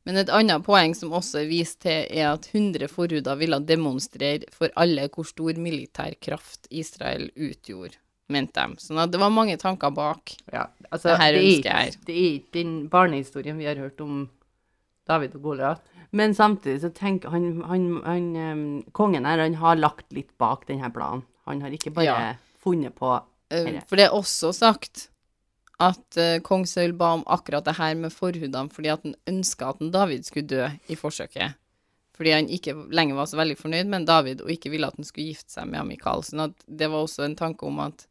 A: Men et annet poeng som også er vist til, er at 100 forhuder ville demonstrere for alle hvor stor militær kraft Israel utgjorde, mente de. Sånn at det var mange tanker bak.
C: ja. Altså,
A: Det her
C: er
A: ønsker
C: ikke-
A: jeg.
C: Det er ikke den barnehistorien vi har hørt om David og Goliat.
B: Men samtidig så tenker han, han, han em, Kongen her, han har lagt litt bak denne planen. Han har ikke bare
A: Ja.
B: funnet på
A: Eh,
B: Eller-
A: For det er også sagt at eh, kong Saul ba om akkurat det her med forhudene fordi at han ønska at en David skulle dø i forsøket. Fordi han ikke lenger var så veldig fornøyd med en David og ikke ville at han skulle gifte seg med Mikael. Sånn at det var også en tanke om at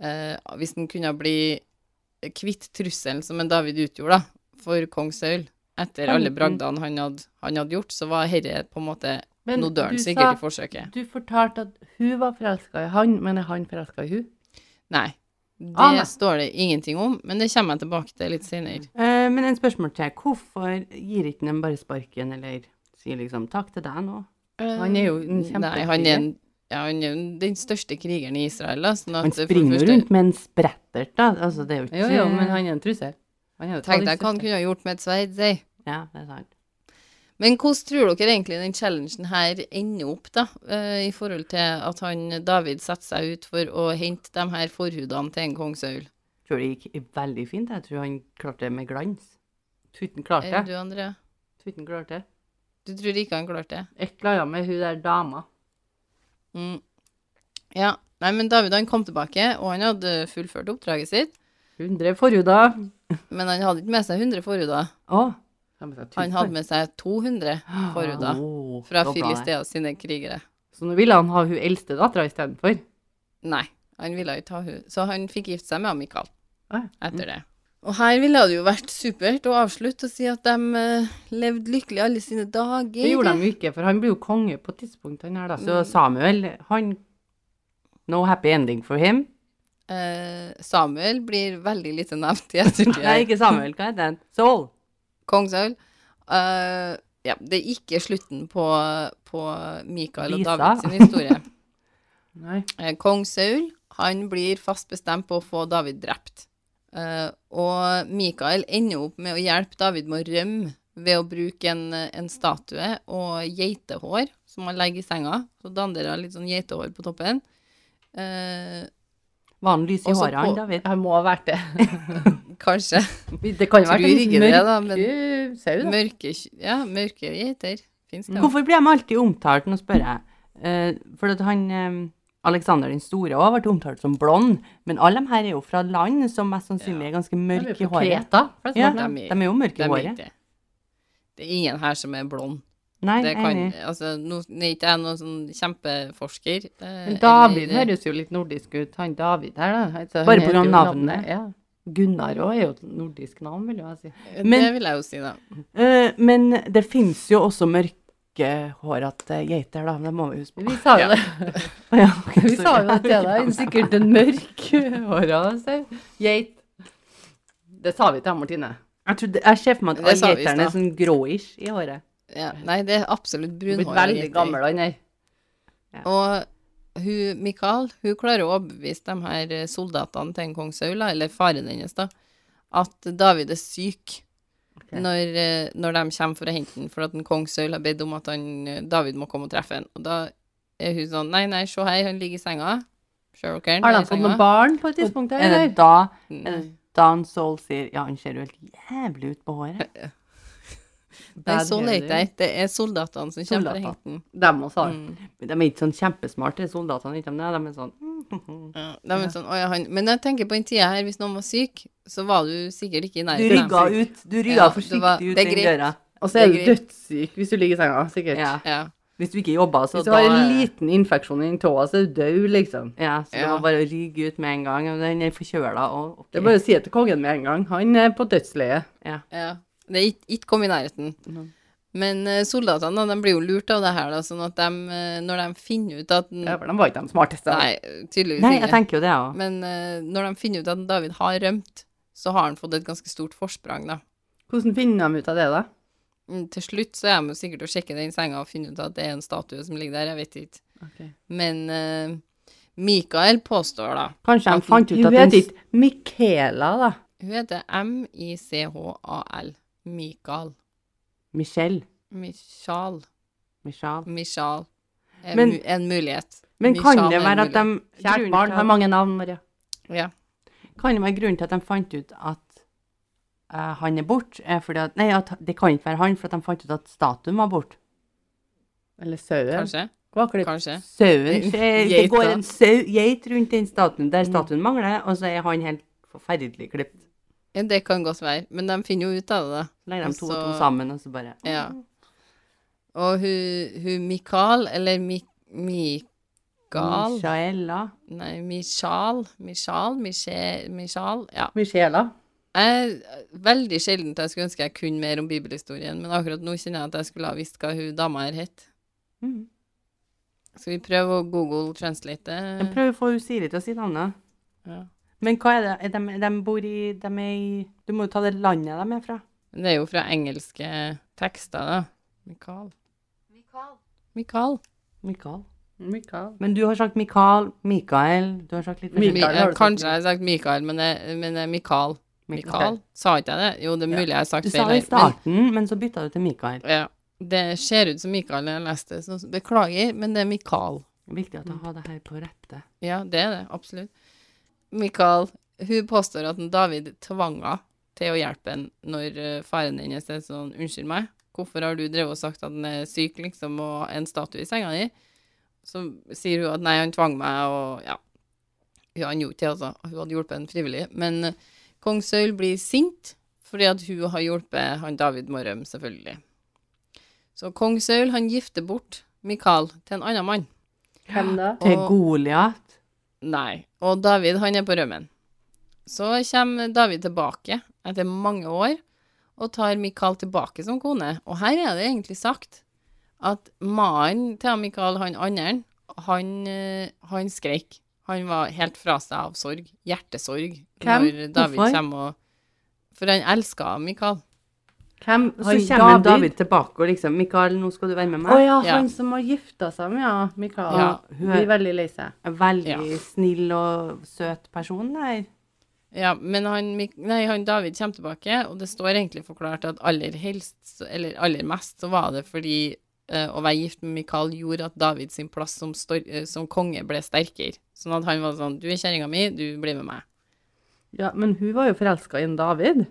A: eh, hvis han kunne bli kvitt trusselen som en David utgjorde, da, for kong Saul, etter alle bragdene han hadde, han hadde gjort, så var herre på en måte
C: Men
A: Nå dør
C: du
A: han
C: sa-
A: sikkert i forsøket.
C: Du fortalte at hun var forelska i han, men er han forelska i hun?
A: Nei. Det
C: Ah, nei.
A: står det ingenting om, men det kommer jeg tilbake til litt senere.
B: Eh, Men en spørsmål til. Hvorfor gir ikke han bare sparken, eller sier liksom 'takk til deg nå'?
C: Han er jo en
A: Nei,
C: kjempekriger.
A: han er, en, ja, han er jo den største krigeren i Israel. Da, sånn at
B: Han
A: for det
B: springer jo
A: første-
B: rundt med en sprettert, da. Altså, det er jo ikke
C: Jo, jo, men han er en trussel. Mm. Han er jo
A: Tenk deg
C: talentfull.
A: hva han kunne ha gjort med et sverd, si.
B: Ja, det er sant.
A: Men hvordan tror dere egentlig den challengen her ender opp, da? eh, I forhold til at han David setter seg ut for å hente de her forhudene til en kongsaul.
B: Tror det gikk veldig fint. Jeg tror han klarte det med glans.
C: Tuten klarte
A: Er
C: det.
A: du, Andrea?
C: Tuten klarte det.
A: Du tror ikke han klarte det?
C: Et eller annet med hun der dama.
A: Mm. Ja. Nei, men David han kom tilbake, og han hadde fullført oppdraget sitt.
C: Hun drev forhuda.
A: Men han hadde ikke med seg 100 forhuder.
B: Å!
A: Han hadde med seg 200 forhuder
B: Å,
A: fra
B: så bra det.
A: Filistea sine krigere.
C: Så nå ville han ha hun eldste dattera istedenfor.
A: Nei, han ville ikke ha hun. Så han fikk gifte seg med han Mikael
C: Ah, ja.
A: etter det. Og her ville det jo vært supert å avslutte og si at de eh, levde lykkelig alle sine dager.
C: Det gjorde de jo ikke, for han blir jo konge på et tidspunkt, han her, da. Så
B: Så Samuel, han No happy ending for him.
A: Eh, Samuel blir veldig lite nevnt i ettertid.
B: Nei, ikke Samuel, hva heter han? Saul.
A: Kong Saul. Eh, ja, det er ikke slutten på, på Mikael og
B: Lisa.
A: David sin historie.
C: nei.
A: Eh, Kong Saul han blir fast bestemt på å få David drept. Eh, og Mikael ender opp med å hjelpe David med å rømme ved å bruke en, en statue og geitehår som han legger i senga. Så danner han litt sånn geitehår på toppen. Eh,
B: Var han lys i
A: Også
B: håret, han,
A: på-
B: David?
C: Han må ha vært det.
A: kanskje
C: Det kan jo
A: Tror
C: være en
A: ikke det, da, men-
C: mørk, eh, sau, da.
A: mørke, ja, mørke geiter. Fins det òg.
B: Hvorfor blir de alltid omtalt? Nå spør jeg. Eh, for at han eh, Alexander den store òg ble omtalt som blond, men alle de her er jo fra land som mest sannsynlig er ganske
C: De er
B: mørke
C: jo
B: i
C: fra
B: håret.
C: Kreta, for det er
B: Ja,
C: sånn
B: de
C: at
A: de er-
B: er jo mørke
A: Det
B: i
A: er
B: håret.
A: ikke. Det er ingen her som er blond.
B: Nei,
A: Det kan,
B: enig.
A: altså, nå er ikke jeg noen sånn kjempeforsker. eh,
C: Men David
A: eller-
C: høres jo litt nordisk ut, han David her, da. Altså, han
B: Bare på
C: heter jo
B: grunn av navnet.
C: Ja. Gunnar òg er jo et nordisk navn, vil jeg si.
B: Men-
A: det vil jeg jo si, da.
B: Eh, men det fins jo også mørkehårete geiter, da. Det må vi huske på.
C: Vi sa jo det,
B: Ja, ok,
C: vi sa
B: sorry.
C: jo det til deg. Sikkert en mørk håra sau. Geit. Det sa vi til deg, Martine.
B: Jeg, trodde, jeg ser for meg at
A: Det sa
B: alle
A: vi i
B: geiterne er
A: stad.
B: sånn gråish i håret.
A: Ja, nei, det er absolutt
C: Du er blitt
A: brunhåret.
C: veldig
A: jenter.
C: gammel, han her.
A: Og hun, Mikael, hun klarer å overbevise de her eh, soldatene til en kong Saul, da, eller faren hennes, da, at David er syk
C: Ok.
A: når, eh, når de kommer for å hente ham, for at en kong Saul har bedt om at han, eh, David må komme og treffe ham. Og da er hun sånn Nei, nei, se her, han ligger i senga. Sherlock Holmes
C: Har
A: er
C: de
A: i
C: fått
A: senga. Mm.
C: noen barn på et tidspunkt?
B: Er det
C: Eller?
B: da
A: Nei.
B: Dan Saul sier Ja, han ser jo helt jævlig ut på håret.
A: Nei,
C: Bad
A: sånn er
C: hair
A: ikke
C: day.
A: det. Det er soldatene som kommer for å
B: Soldater.
A: hente den.
C: Dem også har.
A: Mm.
B: De er ikke sånn kjempesmarte soldatene, ikke de det? De er sånn
A: Ja, de er sånn, «Å ja, han. Men jeg tenker på den tida her, hvis noen var syk, så var du sikkert ikke i
B: Du
A: nærheten.
B: rygga
A: av dem.
B: ut. Du rygga
A: Ja,
B: forsiktig
A: det var-
B: ut
A: det er
B: den
A: greit.
B: døra.
C: Og så er du
A: Det er greit.
C: dødssyk hvis du ligger i senga, sikkert.
B: Ja.
A: Ja.
B: Hvis du ikke jobba, så
C: Hvis du
B: da
C: har en liten infeksjon i den tåa, så er du død, liksom.
B: Ja, så det
A: Ja.
B: var bare å rygge ut med en gang. og Den er forkjøla og
C: Det er
B: ok.
C: bare å si det til kongen med en gang. Han er på dødsleiet.
A: Ja. Det er ikke- ikke kom i nærheten.
C: Mhm.
A: Men eh, soldatene da, de blir jo lurt av det her, da, sånn at de, eh, når de finner ut at den,
C: Ja, for de var ikke de smarteste. da.
A: Mm. Nei, tydeligvis
B: Nei, jeg
A: ikke.
B: tenker jo det òg.
A: Men eh, når de finner ut at David har rømt, så har han fått et ganske stort forsprang, da.
C: Hvordan finner de ut av det, da?
A: Mm, Til slutt så er de jo sikkert å sjekke den senga og finne ut at det er en statue som ligger der, jeg vet ikke. Men eh, Mikael påstår da
B: Kanskje de fant ut
C: Hun
B: at den
C: heter ikke Michaela, da.
A: Hun heter M-I-C-H-A-L. Mikael.
B: Michelle.
A: Michal.
B: Michelle.
A: Michal. Er
B: Men-
A: mu en mulighet.
B: Men kan
A: Michal
B: det
A: er en
B: være at
C: Kjært
B: de grunnen
C: barn
B: til
C: har
B: at-
C: mange navn, Maria.
A: Ja.
B: Kan det være grunnen til at de fant ut at eh, han er borte? Fordi at, nei, at det kan ikke være han, for at de fant ut at statuen var borte.
C: Eller sauen.
A: Kanskje.
C: Hva var det?
A: Kanskje.
B: Sauen eh,
A: Geita.
B: Det går en sau, geit rundt den statuen der statuen mangler, og så er han helt forferdelig klipt.
A: Ja, Det kan godt være. Men de finner jo ut av det. da.
B: Så legger de to og
A: Og
B: to
A: så-
B: sammen, og så bare
A: Ja. Og hun, hun Mikael, eller Mi Mikael
B: Michaela.
A: Nei, Michal. Michal? Miche- Michal? Ja.
C: Michaela.
A: Jeg, veldig sjelden jeg skulle ønske jeg kunne mer om bibelhistorien, men akkurat nå kjenner jeg at jeg skulle ha visst hva hun dama her het.
B: Mm.
A: Skal vi prøve å google translate
B: De
A: det?
B: prøver å få hun Siri til å si navnet.
A: Ja.
B: Men hva er det? Er de, de bor i De er i Du må jo ta det landet de er fra.
A: Men Det er jo fra engelske tekster, da. Mikael. Mikael.
B: Mikael.
C: Michael.
B: Men du har sagt Mikael, Mikael Du har sagt litt
C: Mikael,
A: Mi- eh,
C: har du sagt.
A: Kanskje jeg har sagt Mikael, men det, men det er Mikael. Mikael. Sa ikke jeg det? Jo, det er mulig jeg har sagt
B: Du
A: feil.
B: sa det i
A: her, men-
B: starten, men så bytta du til Mikael.
A: Ja. Det ser ut som Mikael når jeg leste det, så beklager, men det er Mikael.
B: Viktig at jeg har det her på rette.
A: Ja, det er det, absolutt. Mikael, hun påstår at en David tvang henne til å hjelpe henne når eh, faren hennes er sånn, unnskyld meg, hvorfor har du drevet og sagt at han er syk, liksom, og en statue i senga di? Så sier hun at nei, han tvang meg, og ja. Ja, han gjorde det, altså. Hun hadde hjulpet henne frivillig. Men eh, kong Saul blir sint fordi at hun har hjulpet han David med å rømme, selvfølgelig. Så kong Saul, han gifter bort Mikael til en annen mann.
C: Hvem da?
B: Til
A: Og-
B: Goliat.
A: Nei. Og David, han er på rømmen. Så kommer David tilbake etter mange år og tar Mikael tilbake som kone. Og her er det egentlig sagt at mannen til Mikael, han andre, han, eh, han skreik. Han var helt fra seg av sorg. Hjertesorg.
C: Hvem?
A: Når David
C: Hvorfor?
A: kommer og For han elska Mikael.
C: Hvem?
B: Og
C: Han
B: så kommer David.
C: David?
B: tilbake og liksom 'Mikael, nå skal du være med
C: Å
B: meg'.
C: ja,
A: Ja.
C: han som har gifta seg med ja, Mikael.
A: Ja,
B: hun
C: hun
B: er-
C: blir veldig lei seg.
B: En Veldig
A: Ja.
B: snill og søt person der.
A: Ja, men han, Mik- nei, han David kommer tilbake, og det står egentlig forklart at aller helst, så- eller aller mest, så var det fordi eh, å være gift med Mikael gjorde at David sin plass som, stor, eh, som konge ble sterkere. Sånn at han var sånn, du er kjerringa mi, du blir med meg.
C: Ja, men hun var jo forelska i en David.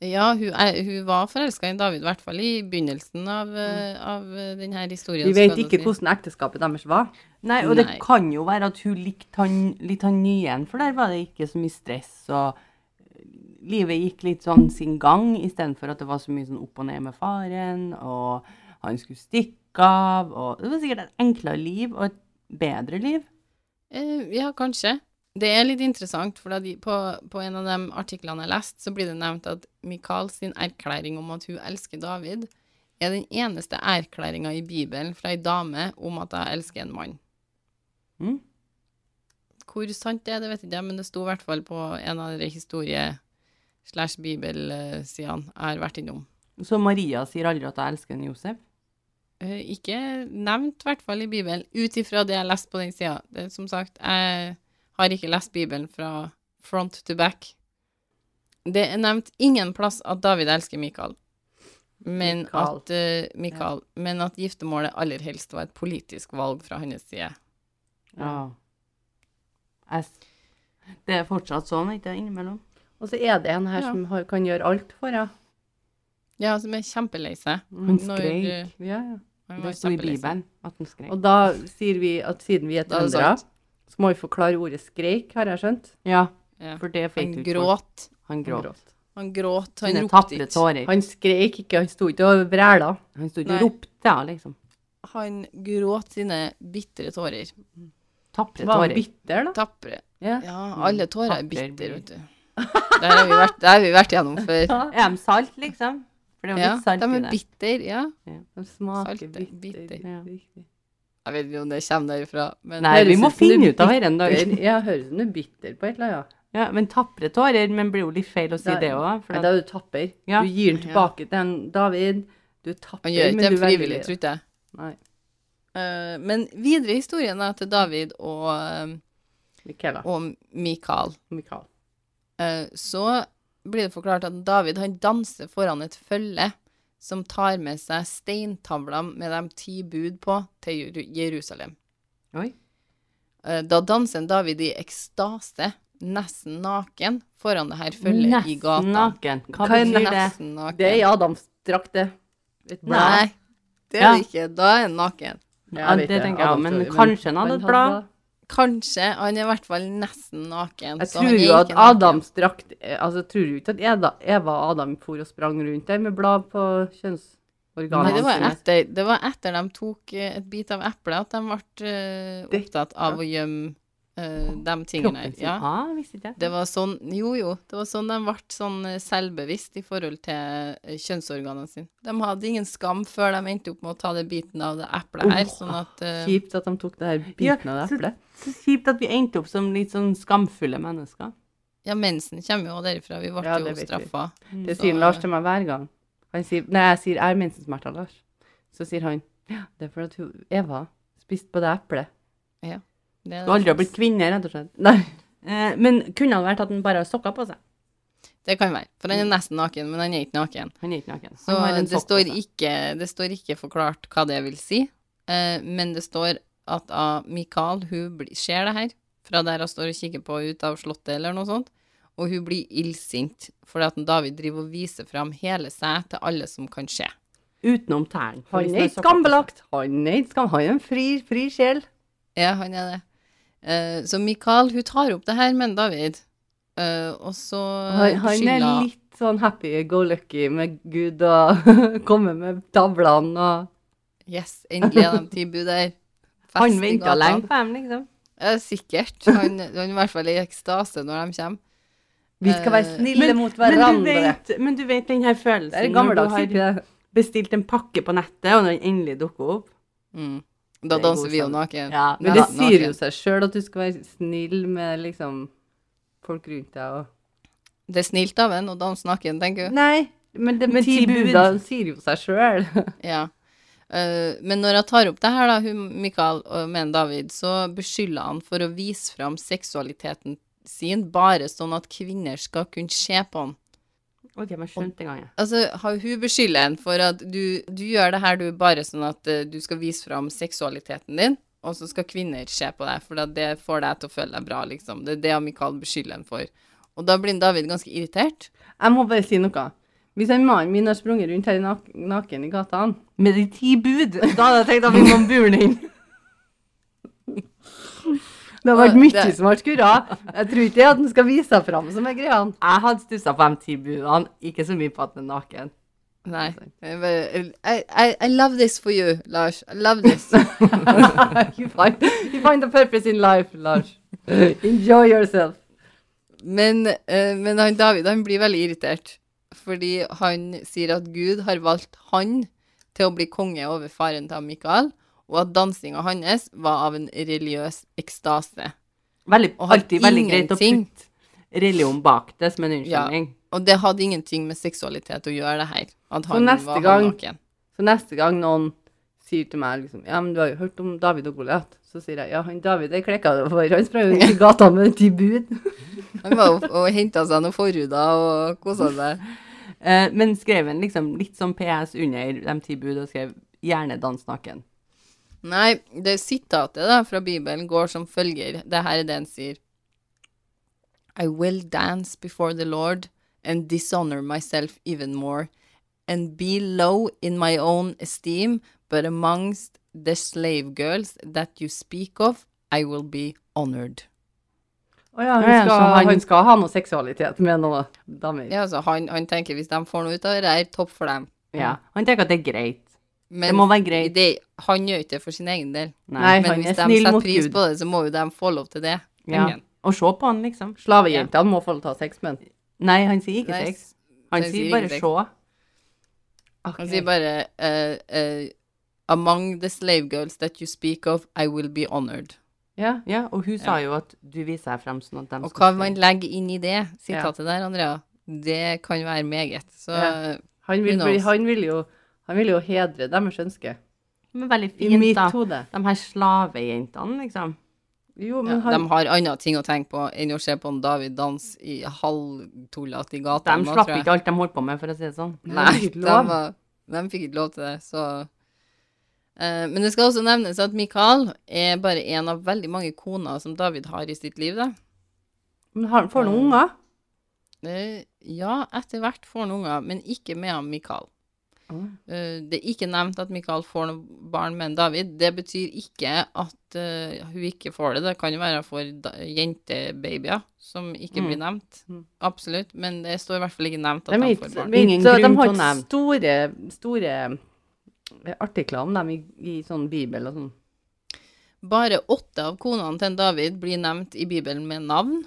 A: Ja, hun, er, hun var forelska i David, i hvert fall i begynnelsen av, eh, av eh, denne historien.
C: Vi
A: så
C: vet
A: kan
C: ikke
A: du si.
C: hvordan ekteskapet deres var.
B: Nei, og
A: Nei.
B: det kan jo være at hun likte han litt han nye igjen, for der var det ikke så mye stress, og eh, livet gikk litt sånn sin gang, istedenfor at det var så mye sånn opp og ned med faren, og han skulle stikke av, og det var sikkert et enklere liv, og et bedre liv.
A: Eh, ja, kanskje. Det er litt interessant, for da de, på, på en av de artiklene jeg leste, så blir det nevnt at Mikael sin erklæring om at hun elsker David, er den eneste erklæringa i Bibelen fra ei dame om at jeg elsker en mann.
B: Mm.
A: Hvor sant det er, det vet ikke jeg, men det sto i hvert fall på en av de historie-slash-bibelsidene eh, jeg har vært innom.
B: Så Maria sier aldri at jeg elsker en Josef.
A: Eh, Ikke nevnt, i hvert fall i Bibelen, ut ifra det jeg leste på den sida. Det er Som sagt, jeg har ikke lest Bibelen fra front to back. Det er nevnt ingen plass at David elsker Mikael, men
C: Mikael.
A: at eh, Mikael, men at giftermålet aller helst var et politisk valg fra hans side.
B: Ja. Jeg s- Det er fortsatt sånn, ikke det, innimellom?
C: Og så er det en her
A: Ja.
C: som har, kan gjøre alt for henne.
A: Ja, som er kjempelei seg.
B: Mm. Han
A: Når, eh,
B: skrek.
C: Ja, ja.
A: han var
B: Det sto i
A: kjempelei seg.
B: Bibelen at han skrek.
C: Og da sier vi at siden vi er
A: Da er altså det
C: trøndere,
A: sant.
C: så må vi forklare ordet skreik, har jeg skjønt.
B: Ja,
A: Ja.
B: for det
A: Han
B: fikk du ikke. folk.
A: gråt.
B: Han gråt.
A: Han gråt, han
B: Sine
A: ropte
B: tapre
A: ikke.
B: tårer.
C: Han skreik ikke, han sto ikke og vræla.
B: Han sto ikke
A: Nei.
B: og ropte, ja, liksom.
A: Han gråt sine bitre tårer.
B: Tapre
C: Var han
B: tårer.
C: bitter, da?
A: Tapre.
C: Ja.
A: Ja, alle tårer er
B: Tapper
A: bitter,
B: blir.
A: vet du. Der har vi vært, der har vi vært gjennom før.
B: Er de salt, liksom? For det er jo
A: Ja,
B: litt salt
A: de
B: i
A: er
B: det.
A: bitter, ja.
C: De smaker
A: Salte,
C: bitter.
A: bitter.
B: Ja.
C: riktig.
A: Jeg vet ikke om det kommer derifra, men
B: Nei, vi
C: Høres
B: må
C: ut som
B: finne
C: du
B: ut av dette en dag.
C: bitter- Ja, høres ut som du er bitter på et eller annet.
B: Ja, men tapre tårer, men blir jo litt feil å si
C: Da-
B: det òg.
C: Nei, da er du tapper.
B: Ja.
C: Du gir den tilbake til en David. Du er tapper,
A: han gjør
C: men
A: ikke
C: du
A: det
C: er veldig
A: frivillig,
C: lei deg.
A: tror ikke jeg.
C: Nei.
A: Eh, Men videre i historien da, til David og, eh,
C: Michaela.
A: og Mikael,
C: Mikael.
A: eh, så blir det forklart at David han danser foran et følge som tar med seg steintavler med de ti bud på til Jeru- Jerusalem.
B: Oi.
A: Eh, Da danser David i ekstase, nesten naken, foran det her følget i
B: Nesten
A: gata.
B: naken.
C: Hva
B: Hva,
C: er
B: betyr det?
A: Nesten naken.
C: Det er i Adams drakt, det. Et blad.
A: Nei, det er det ikke. Da er han naken.
B: Ja, det tenker jeg, men kanskje han hadde et blad?
A: Kanskje. Han er i hvert fall nesten naken.
C: Jeg
A: så han
C: tror
A: er
C: jo at
A: ikke naken.
C: Adams drakt eh, Altså, tror du ikke at Eda, Eva og Adam for og sprang rundt der med blad på
A: Nei,
C: kjønnsorganene
A: det var,
B: Nei.
A: etter, det var etter de tok eh, et bit av eplet at de ble eh,
C: Det-
A: opptatt av å gjemme eh, de tingene
B: Kroppen
A: her.
B: sin.
A: Ja.
B: Ah, visste ikke jeg.
A: Det var sånn Jo, jo. Det var sånn de ble sånn eh, selvbevisst i forhold til eh, kjønnsorganene sine. De hadde ingen skam før de endte opp med å ta den biten av det eplet her, sånn at eh,
C: Kjipt at de tok det her biten av det
B: så-
C: eplet.
B: Så kjipt at vi endte opp som litt sånn skamfulle mennesker.
A: Ja, mensen kommer jo derifra. Vi ble
C: Ja,
A: jo
C: det vet vi.
A: straffa.
B: Mm.
C: Det
A: Så-
C: sier Lars til meg hver gang. Han sier, nei, jeg sier 'er mensensmerter', Lars. Så sier han 'ja, det er fordi at hun- Eva spiste på det eplet'.
A: Det er
B: Du har aldri blitt kvinne, rett og slett.
C: Nei.
B: Eh, men kunne det vært at han bare har sokker på seg?
A: Det kan være. For han er nesten naken, men han er ikke naken.
B: Han er ikke naken.
A: Så
B: han har en
A: det
B: sokk på
A: står,
B: seg.
C: altså.
A: ikke, det står ikke forklart hva det vil si, eh, men det står at ah, Mikael, hun blir- ser det her, fra der hun står og kikker på ut av slottet eller noe sånt, og hun blir illsint, fordi at David driver og viser fram hele seg til alle som kan se.
B: Utenom tærne. for
C: Han
B: hvis det
C: er
B: sokk
C: ikke
B: på seg.
C: skambelagt. Han er ikke skam... Han er en fri, fri sjel.
A: Ja, han er det. Eh, Så Mikael, hun tar opp det her med David, eh, og så
C: Han, han er
A: beskylder-
C: litt sånn happy go lucky med Gud og kommer med tavlene og
A: Yes, endelig er de ti bud der. Fest
C: Han
A: i
C: venta
A: gatene.
C: lenge på dem, liksom.
A: Ja, sikkert. Han, han er i hvert fall i ekstase når de kommer.
C: Vi skal være
A: Eh,
C: snille mot
B: Men du,
C: hverandre.
B: vet, men du vet den her følelsen
C: Det er
B: når du
C: gammeldags hippie.
B: har
C: det.
B: bestilt en pakke på nettet, og den endelig dukker opp.
A: Mm. Da
B: Det er
A: danser
B: god
A: vi jo
B: stemning.
A: naken.
B: Ja,
C: Men
A: Ja,
C: det sier jo
A: naken.
C: seg sjøl at du skal være snill med liksom folk rundt deg og
A: Det er snilt av en å danse naken, tenker du.
C: Nei, men det
B: Men
C: med ti
B: ti bud.
C: buda sier jo seg sjøl.
A: Ja. Eh, men når jeg tar opp det her, da, hun, Mikael og men David, så beskylder han for å vise fram seksualiteten sin bare sånn at kvinner skal kunne se på han.
B: Ok, men skjønte en gang, jeg.
A: Altså, har- hun beskylder en for at du, du gjør det her du bare sånn at eh, du skal vise fram seksualiteten din, og så skal kvinner se på deg, for at det får deg til å føle deg bra, liksom. Det er det han Mikael beskylder en for. Og da blir David ganske irritert.
C: Jeg må bare si noe. Hvis en mannen min har sprunget rundt her i nak naken i gatene
B: Med de ti bud!
C: Da hadde jeg tenkt at vi må bure den inn. Det har vært
A: Og
C: mye
A: det-
C: som har skurra. Jeg tror ikke at den skal vise seg fram som er greia.
B: Jeg hadde stussa på de ti budene, ikke så mye på at den er naken.
A: Nei. jeg bare- I, I, I love this for you, Lars. I love this.
C: you, find, you find the purpose in life, Lars. Enjoy yourself.
A: Men, eh, men han David han blir veldig irritert, fordi han sier at Gud har valgt han til å bli konge over faren til Mikael, og at dansinga hans var av en religiøs ekstase.
B: Veldig,
A: Og hadde
B: alltid veldig greit å
A: ingenting.
B: putte religion bak det som en unnskyldning.
A: Og det hadde ingenting med seksualitet å gjøre, det her. At han
C: neste
A: var
C: gang-
A: naken.
C: Så neste gang noen sier til meg liksom, ja, men du har jo hørt om David og Goliat, så sier jeg ja, han David er klekka det for, han sprang rundt i gata med ti bud.
A: Han var jo og henta seg noen forhuder og kosa seg.
B: Eh, men skrev en liksom litt sånn PS under de ti bud og skrev 'gjerne dans naken'.
A: Nei, det sitatet da fra Bibelen går som følger. Det her er det han sier. I will dance before the Lord and dishonor myself even more and be low in my own esteem, but amongst the slave girls that you speak of, I will be honored.
C: Å ja,
B: Ja, ja,
C: han
B: så
C: skal,
B: han-
C: han skal ha noe seksualitet med noe damer.
A: Ja, altså, han, han tenker hvis de får noe ut av det, det er topp for dem.
B: Ja. Han tenker at det er greit.
A: Men
B: Det må være greit.
A: det- han gjør ikke det for sin egen del.
C: Nei,
A: Men
C: han
A: hvis
C: er
A: de
C: snill
A: setter
C: mot
A: pris
C: Gud.
A: på det, så må jo de få lov til det.
B: Ja.
A: tenker han.
B: Og se på han, liksom.
C: Slavejentene må få lov til å ha sex med han.
B: Nei, han sier ikke
A: Nei,
B: sex. Han
A: han
B: sier
A: sier
B: bare
A: ikke sex.
B: 'sjå'.
A: Han sier bare eh, eh, Among the slave girls that you speak of, I will be honored.
C: Ja.
B: Ja, og hun sa jo at du viser deg frem sånn at de
A: Og hva man legger inn i det sitatet der, Andrea, det kan være meget. Så
C: Ja. Han vil,
A: Who
C: bli,
A: knows?
C: han vil jo han vil jo hedre deres ønske.
B: Men veldig
C: I
B: fint,
C: mitt
B: da.
C: hode.
B: De her slavejentene, liksom.
C: Jo,
A: ja,
C: men
A: de
C: han,
A: har andre ting å tenke på enn å se på en David danse i halvtullete i gata.
B: De slapp ikke alt de holdt på med, for å si det sånn.
A: Nei,
C: fikk
A: de,
C: ikke lov.
A: var, de fikk ikke lov til det, så Eh, Men det skal også nevnes at Mikael er bare en av veldig mange koner som David har i sitt liv, da.
C: men han får noen unger.
A: Eh, ja, etter hvert får han unger, men ikke med han Mikael.
C: Ah.
A: Eh, det er ikke nevnt at Mikael får noen barn med en David. Det betyr ikke at eh, hun ikke får det. Det kan jo være for da- jentebabyer som ikke blir nevnt.
C: Mm.
A: Absolutt. Men det står i hvert fall ikke nevnt
C: De,
A: at
C: er
A: han
C: ikke-
A: får barn.
C: de er
B: Ingen
C: ikke- så de
B: grunn
C: har
B: til å
C: ikke store, store eh, artikler om dem i, i sånn bibel og sånn.
A: Bare åtte av konene til en David blir nevnt i Bibelen med navn.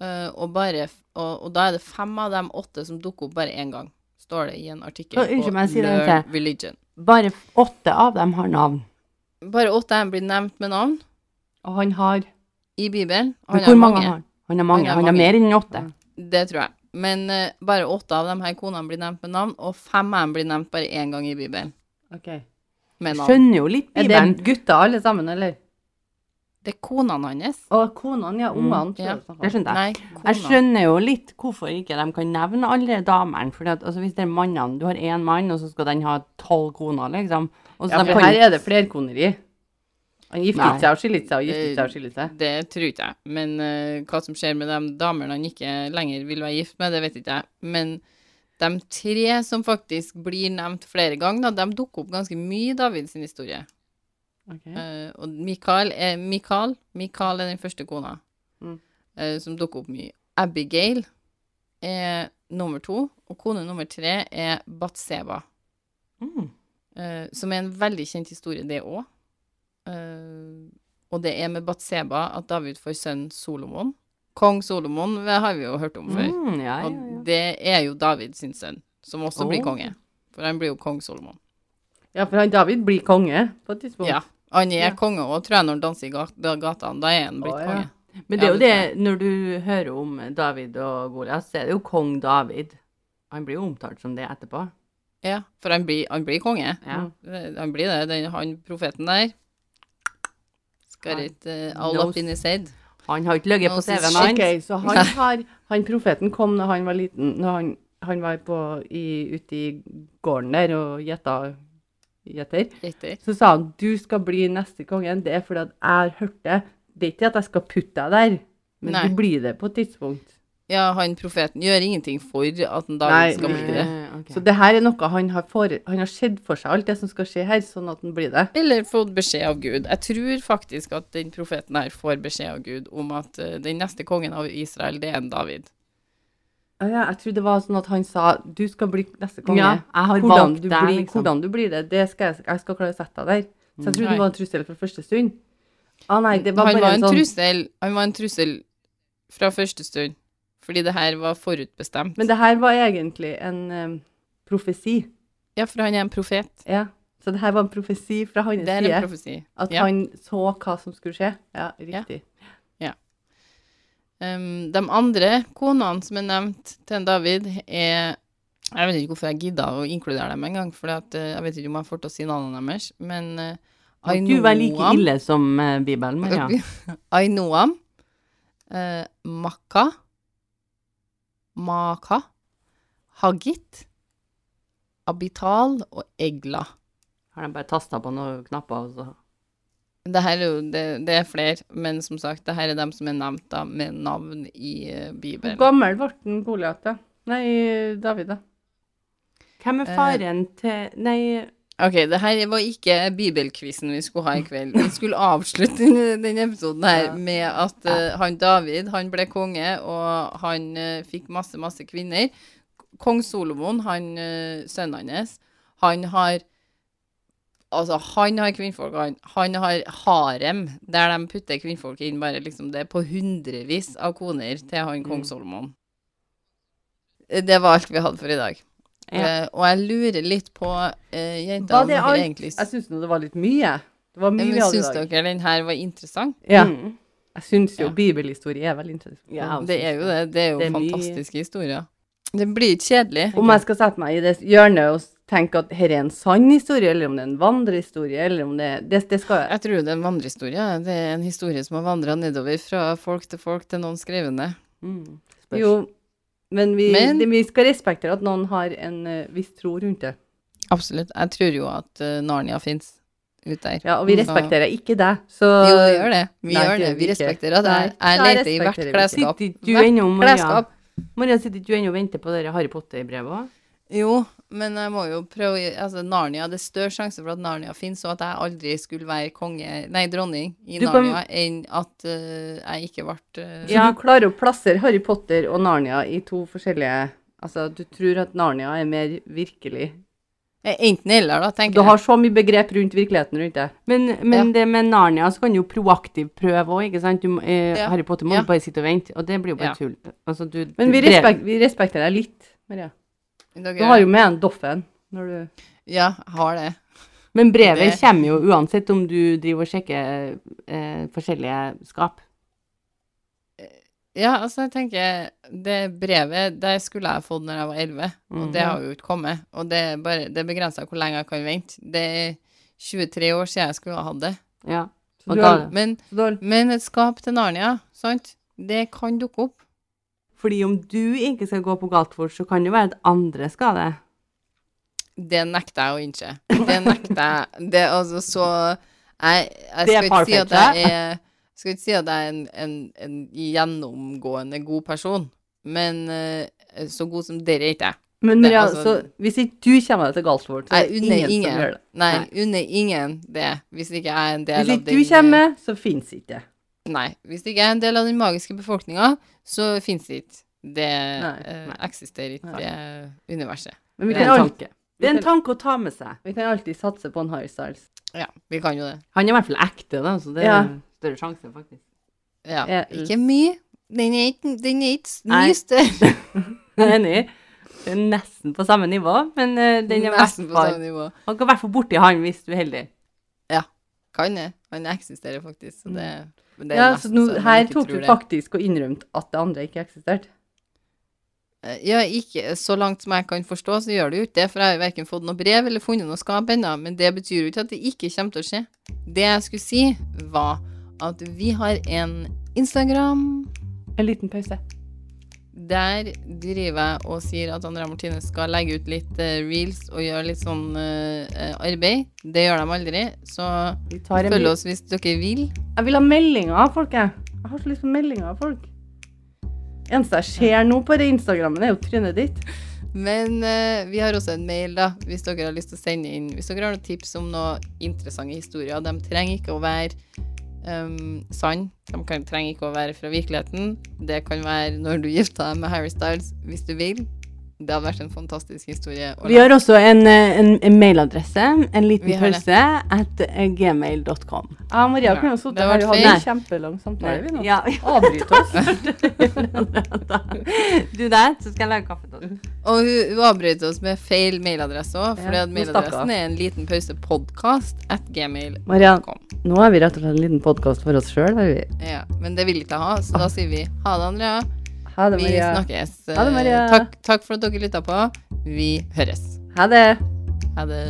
A: eh, og, bare, f- og, og da er det fem av de åtte som dukker opp bare én gang, står det i en artikkel
B: Å, unnskyld meg, si det en
A: Learn
B: til.
A: Religion.
B: Bare f- åtte av dem har navn.
A: Bare åtte av dem blir nevnt med navn.
C: Og han har
A: i Bibelen. og
B: Men
A: Han har
B: hvor mange
A: mange,
B: har han? Han har mange.
A: Han har
B: Han har
A: mange.
B: mer enn åtte.
A: det tror jeg. Men eh, bare åtte av de her konene blir nevnt med navn, og fem av dem blir nevnt bare én gang i Bibelen.
C: Ok.
A: Med navn.
B: Skjønner jo litt
C: Er
B: Bibelen.
C: det gutter alle sammen, eller?
A: Det er konene hans.
C: Og konene, Mm, ja. Ungene. tror
A: ja.
C: jeg snakker om.
B: Det skjønte jeg.
A: Nei,
B: Jeg
A: kona.
B: skjønner jo litt hvorfor ikke de kan nevne alle damene. For altså, hvis det er mannene Du har én mann, og så skal den ha tolv koner, liksom. Og så
C: Ja,
B: de
C: for
B: kan,
C: her er det flerkoneri. Han giftet
B: Nei.
C: seg og skilte seg og giftet seg og skilte seg.
A: Det tror ikke jeg. Men eh, hva som skjer med de damene han ikke lenger vil være gift med, det vet ikke jeg. Men de tre som faktisk blir nevnt flere ganger, da, de dukker opp ganske mye i Davids historie. Eh, og Mikael er, Mikael, Mikael er den første kona
C: Mm.
A: eh, som dukker opp mye. Abigail er nummer to, og kone nummer tre er Batseba.
B: mm,
A: Eh, som er en veldig kjent historie, det òg. og det er med Batseba at David får sønnen Solomon. Kong Solomon det har vi jo hørt om før.
B: mm, ja, ja,
A: Og
B: ja.
A: det er jo David sin sønn, som også blir
B: Å.
A: konge. For han blir jo kong Solomon.
C: Ja, for han David blir konge på et tidspunkt.
A: Ja. Han er
C: Ja.
A: konge òg, tror jeg, når han danser i ga- da- gatene. Da er han blitt
C: Å, ja.
A: konge.
B: Men det er
A: Ja,
B: jo
A: det
B: det, når du hører om David og Goliat, så er det jo kong David. Han blir jo omtalt som det etterpå.
A: Ja, for han blir, han blir konge.
B: Ja.
A: Det- Han blir det. Den, han profeten der Skal
B: Han
A: ikke eh, all
B: knows.
A: up in his head.
B: Han har ikke ligget
A: Nå
B: på
A: sier
B: CV-en
A: shit.
B: hans.
C: Ok, så han har Han profeten kom når han var liten, når han, han var på, i, ute i gården der og gjetta gjetter.
A: Riktig.
C: Så sa han du skal bli neste kongen, det er fordi at jeg har hørt det. Det er ikke at jeg skal putte deg der, men
A: Nei.
C: du blir det på et tidspunkt.
A: Ja, han profeten gjør ingenting for at en David
C: Nei,
A: skal bli det.
B: Eh, ok.
C: Så det her er noe han har, fore, han har sett for seg, alt det som skal skje her, sånn at han blir det.
A: Eller fått beskjed av Gud. Jeg tror faktisk at den profeten her får beskjed av Gud om at eh, den neste kongen av Israel, det er en David.
C: Ja, ja, jeg tror det var sånn at han sa du skal bli neste konge.
B: ja, jeg har
C: Hvordan
B: valgt
C: du,
B: deg,
C: blir,
B: liksom.
C: hvordan du blir det, det skal jeg, jeg skal klare å sette deg der. Så jeg
A: Mm,
C: tror
A: Nei.
C: det var en trussel fra første stund. Ah, nei, det var
A: han,
C: bare
A: var en
C: en sånn
A: trussel, han var en trussel fra første stund, fordi det her var forutbestemt.
C: Men det her var egentlig en em, profesi.
A: ja, for han er en profet.
C: Ja. Så det her var en profesi fra hans
A: Det er en
C: side.
A: profesi.
C: At
A: ja.
C: han så hva som skulle skje. Ja, riktig.
A: Um, de andre konene som er nevnt til en David, er Jeg vet ikke hvorfor jeg gidda å inkludere dem engang, for jeg vet ikke om jeg får til å si navnene deres, men eh,
B: Må ikke du være like
A: Ainoam-
B: ille som eh, Bibelen, men ja.
A: Ainoam, eh, Makka, Maka, Hagit, Abital og Egla.
B: Har de bare tasta på noen knapper, og så
A: Det, her er jo, det, det er flere, men som sagt, det her er dem som er nevnt da, med navn i eh,
C: Hvor
A: Bibelen.
C: gammel ble han Goliat, da? Nei, David, da.
B: Hvem
A: Eh,
B: er faren til Nei,
A: Ok, det her var ikke bibelquizen vi skulle ha i kveld. Vi skulle avslutte den- denne episoden her
B: Ja.
A: med at eh, han David, han ble konge, og han eh, fikk masse, masse kvinner. Kong Solomon, han eh, sønnen hans, han har Altså, han har kvinnfolk, han. Han har harem, der de putter kvinnfolk inn bare liksom det er på hundrevis av koner til han kong
B: Mm.
A: Solomon. Det var alt vi hadde for i dag.
B: Ja.
A: Eh, og jeg lurer litt på eh, jentene
C: Var det
A: hva
C: alt?
A: egentlig
B: altså,
C: Jeg syns nå det var litt mye. Det var mye
A: men
C: vi hadde i
A: syns
C: dag.
A: dere den her var interessant?
C: Ja.
B: Mm.
C: Jeg syns jo
A: Ja.
C: bibelhistorie er veldig interessant.
B: Ja, Jeg
A: Det
B: syns
A: er jo det. Det er jo
B: Det er mye-
A: fantastiske historier. Det blir ikke kjedelig.
C: Om jeg skal sette meg i det hjørnet og tenke at her er en sann historie, eller om det er en vandrehistorie, eller om det Det, det skal jeg.
A: Jeg tror det er en vandrehistorie. Det er en historie som har vandra nedover fra folk til folk til noen skrev den ned.
B: Mm. Spørs.
C: Jo, men vi,
A: Men-
C: det, vi skal respektere at noen har en eh, viss tro rundt det.
A: Absolutt. Jeg tror jo at eh, Narnia fins ute der.
C: Ja, og vi respekterer ikke deg, så
A: Jo, vi gjør det. Vi
C: Nei, det
A: gjør det.
C: gjør vi
A: Vi
C: ikke.
A: respekterer at jeg,
C: Nei,
A: jeg
C: da
A: leter i hvert
C: respekterer vi ikke.
A: klesskap.
B: Sitter du
A: Hvert
B: ennå, Maria?
A: klesskap.
B: Maria, sitter du ennå og venter på det Harry Potter-brevet òg?
A: Jo, men jeg må jo prøve Altså, Narnia Det er større sjanse for at Narnia fins, og at jeg aldri skulle være konge Nei, dronning i
B: Du kan-
A: Narnia, enn at eh, jeg ikke ble eh,
C: Så
B: Ja.
C: du klarer å plassere Harry Potter og Narnia i to forskjellige Altså, du tror at Narnia er mer virkelig.
A: Eh, Enten eller, da, tenker
C: Du har så mye begrep rundt virkeligheten rundt deg.
B: Men, men det med Narnia, så kan du jo proaktivt prøve òg, ikke sant? Du, må- eh,
A: Ja.
B: Harry Potter må
A: Ja.
B: du bare sitte og vente, og det blir jo bare
A: Ja.
B: tull. Altså, du,
C: Men vi,
B: brev-
C: respek vi respekterer deg litt, Maria.
A: jeg. Dere,
C: Du har jo med en Doffen når du
A: Ja, jeg har det.
B: Men brevet
A: Det-
B: kommer jo uansett om du driver og sjekker eh, forskjellige skap.
A: Ja, altså, jeg tenker Det brevet, det skulle jeg fått når jeg var 11, og
B: Mhm.
A: det har jo ikke kommet. Og det er, bare, det er begrensa hvor lenge jeg kan vente. Det er 23 år siden jeg skulle ha hatt det.
B: Ja.
C: Og
B: du
C: da,
B: har-
A: Men,
C: så da
A: men et skap til Narnia, sant? Det kan dukke opp.
B: Fordi om du ikke skal gå på Galtvort, så kan det være at andre skal det.
A: Det nekter jeg å innse. Det nekter jeg. Det er altså så Jeg, jeg
B: Det er
A: skal ikke si at
B: farfetchet.
A: jeg er skal ikke si at jeg er en, en, en gjennomgående god person, men eh, så god som dere er ikke jeg.
C: Men
A: Det er
C: Maria,
A: altså-
C: så hvis ikke du kommer deg til Galtvort, så er
A: Jeg
C: det
A: unner
C: ingen, som gjør
A: ingen,
C: det.
A: nei, unner ingen det, hvis ikke jeg er en del
C: Hvis
A: av
C: ikke du
A: den
C: kommer, så fins ikke det.
A: Nei. Hvis det ikke er en del av den magiske befolkninga, så fins det ikke. Det
C: Nei,
A: eh,
C: nei.
A: eksisterer ikke, det universet.
C: Men vi
B: Det er
C: kan,
B: en
C: alltid, vi,
B: tanke. Det er en
C: kan,
B: tanke å ta med seg.
C: vi kan alltid satse på en Harry Styles.
A: Ja, vi kan jo det.
B: Han er i hvert fall ekte, da, så det er
C: Ja.
B: en større sjanse, faktisk.
A: Ja.
C: Ja, mm.
A: Ikke mye. Den er ikke, den er ikke
B: Nei.
A: mye større.
B: Jeg er enig. Det er nesten på samme nivå, men eh, den er i hvert
A: Nesten på
B: fall-
A: samme nivå.
B: Han kan i hvert fall borti han hvis du er heldig.
A: Kan det. Han eksisterer faktisk, så det, men det er
C: Ja, så
A: nesten
C: nå,
A: man
C: her
A: ikke tror
C: tok du
A: det.
C: faktisk og innrømte at det andre ikke eksisterte.
A: Eh, Ja, ikke så langt som jeg kan forstå, så gjør det jo ikke det, for jeg har verken fått noe brev eller funnet noe skap ennå, men det betyr jo ikke at det ikke kommer til å skje. Det jeg skulle si, var at vi har en Instagram
C: En liten pause.
A: Der driver jeg og sier at Andrea Martine skal legge ut litt eh, reels og gjøre litt sånn eh, eh, arbeid. Det gjør de aldri, så
C: Vi tar en
A: følg
C: bil.
A: oss hvis dere vil.
C: Jeg vil ha meldinger av folk, jeg. Jeg har så lyst på meldinger av folk. Eneste jeg ser nå på det Instagrammen, er jo trynet ditt.
A: Men eh, vi har også en mail, da, hvis dere har lyst til å sende inn Hvis dere har noen tips om noen interessante historier. De trenger ikke å være um, sann. De kan, trenger ikke å være fra virkeligheten. Det kan være når du gifta deg med Harry Styles, hvis du vil. Det hadde vært en fantastisk historie. å
B: Vi har også en, eh, en, en mailadresse, en
A: Vi
B: liten
A: har det.
B: pause, at eh, gmail.com.
C: Jeg og Maria
A: Ja,
C: kunne jo
A: det
C: sittet
A: var
C: her og hatt
A: feil.
C: en kjempelang samtale, vi nå.
B: Ja.
C: Avbryt oss.
B: du der, så skal jeg lage kaffe til deg.
A: Og hun, hun avbrøt oss med feil mailadresse òg, for
C: Ja,
A: at
C: hun
A: mailadressen
C: stakk
A: er en liten pause podcast at gmail.
C: Maria, nå har vi rett og slett en liten podkast for oss sjøl, har vi.
A: Ja, men det vil ikke jeg ha, så
C: Ah.
A: da sier vi ha det, Andrea.
C: Ha det,
A: Vi
C: Maria.
A: snakkes.
C: Ha det, Maria.
A: Takk, takk for at dere lytta på. Vi høres.
C: Ha det.
A: Ha det.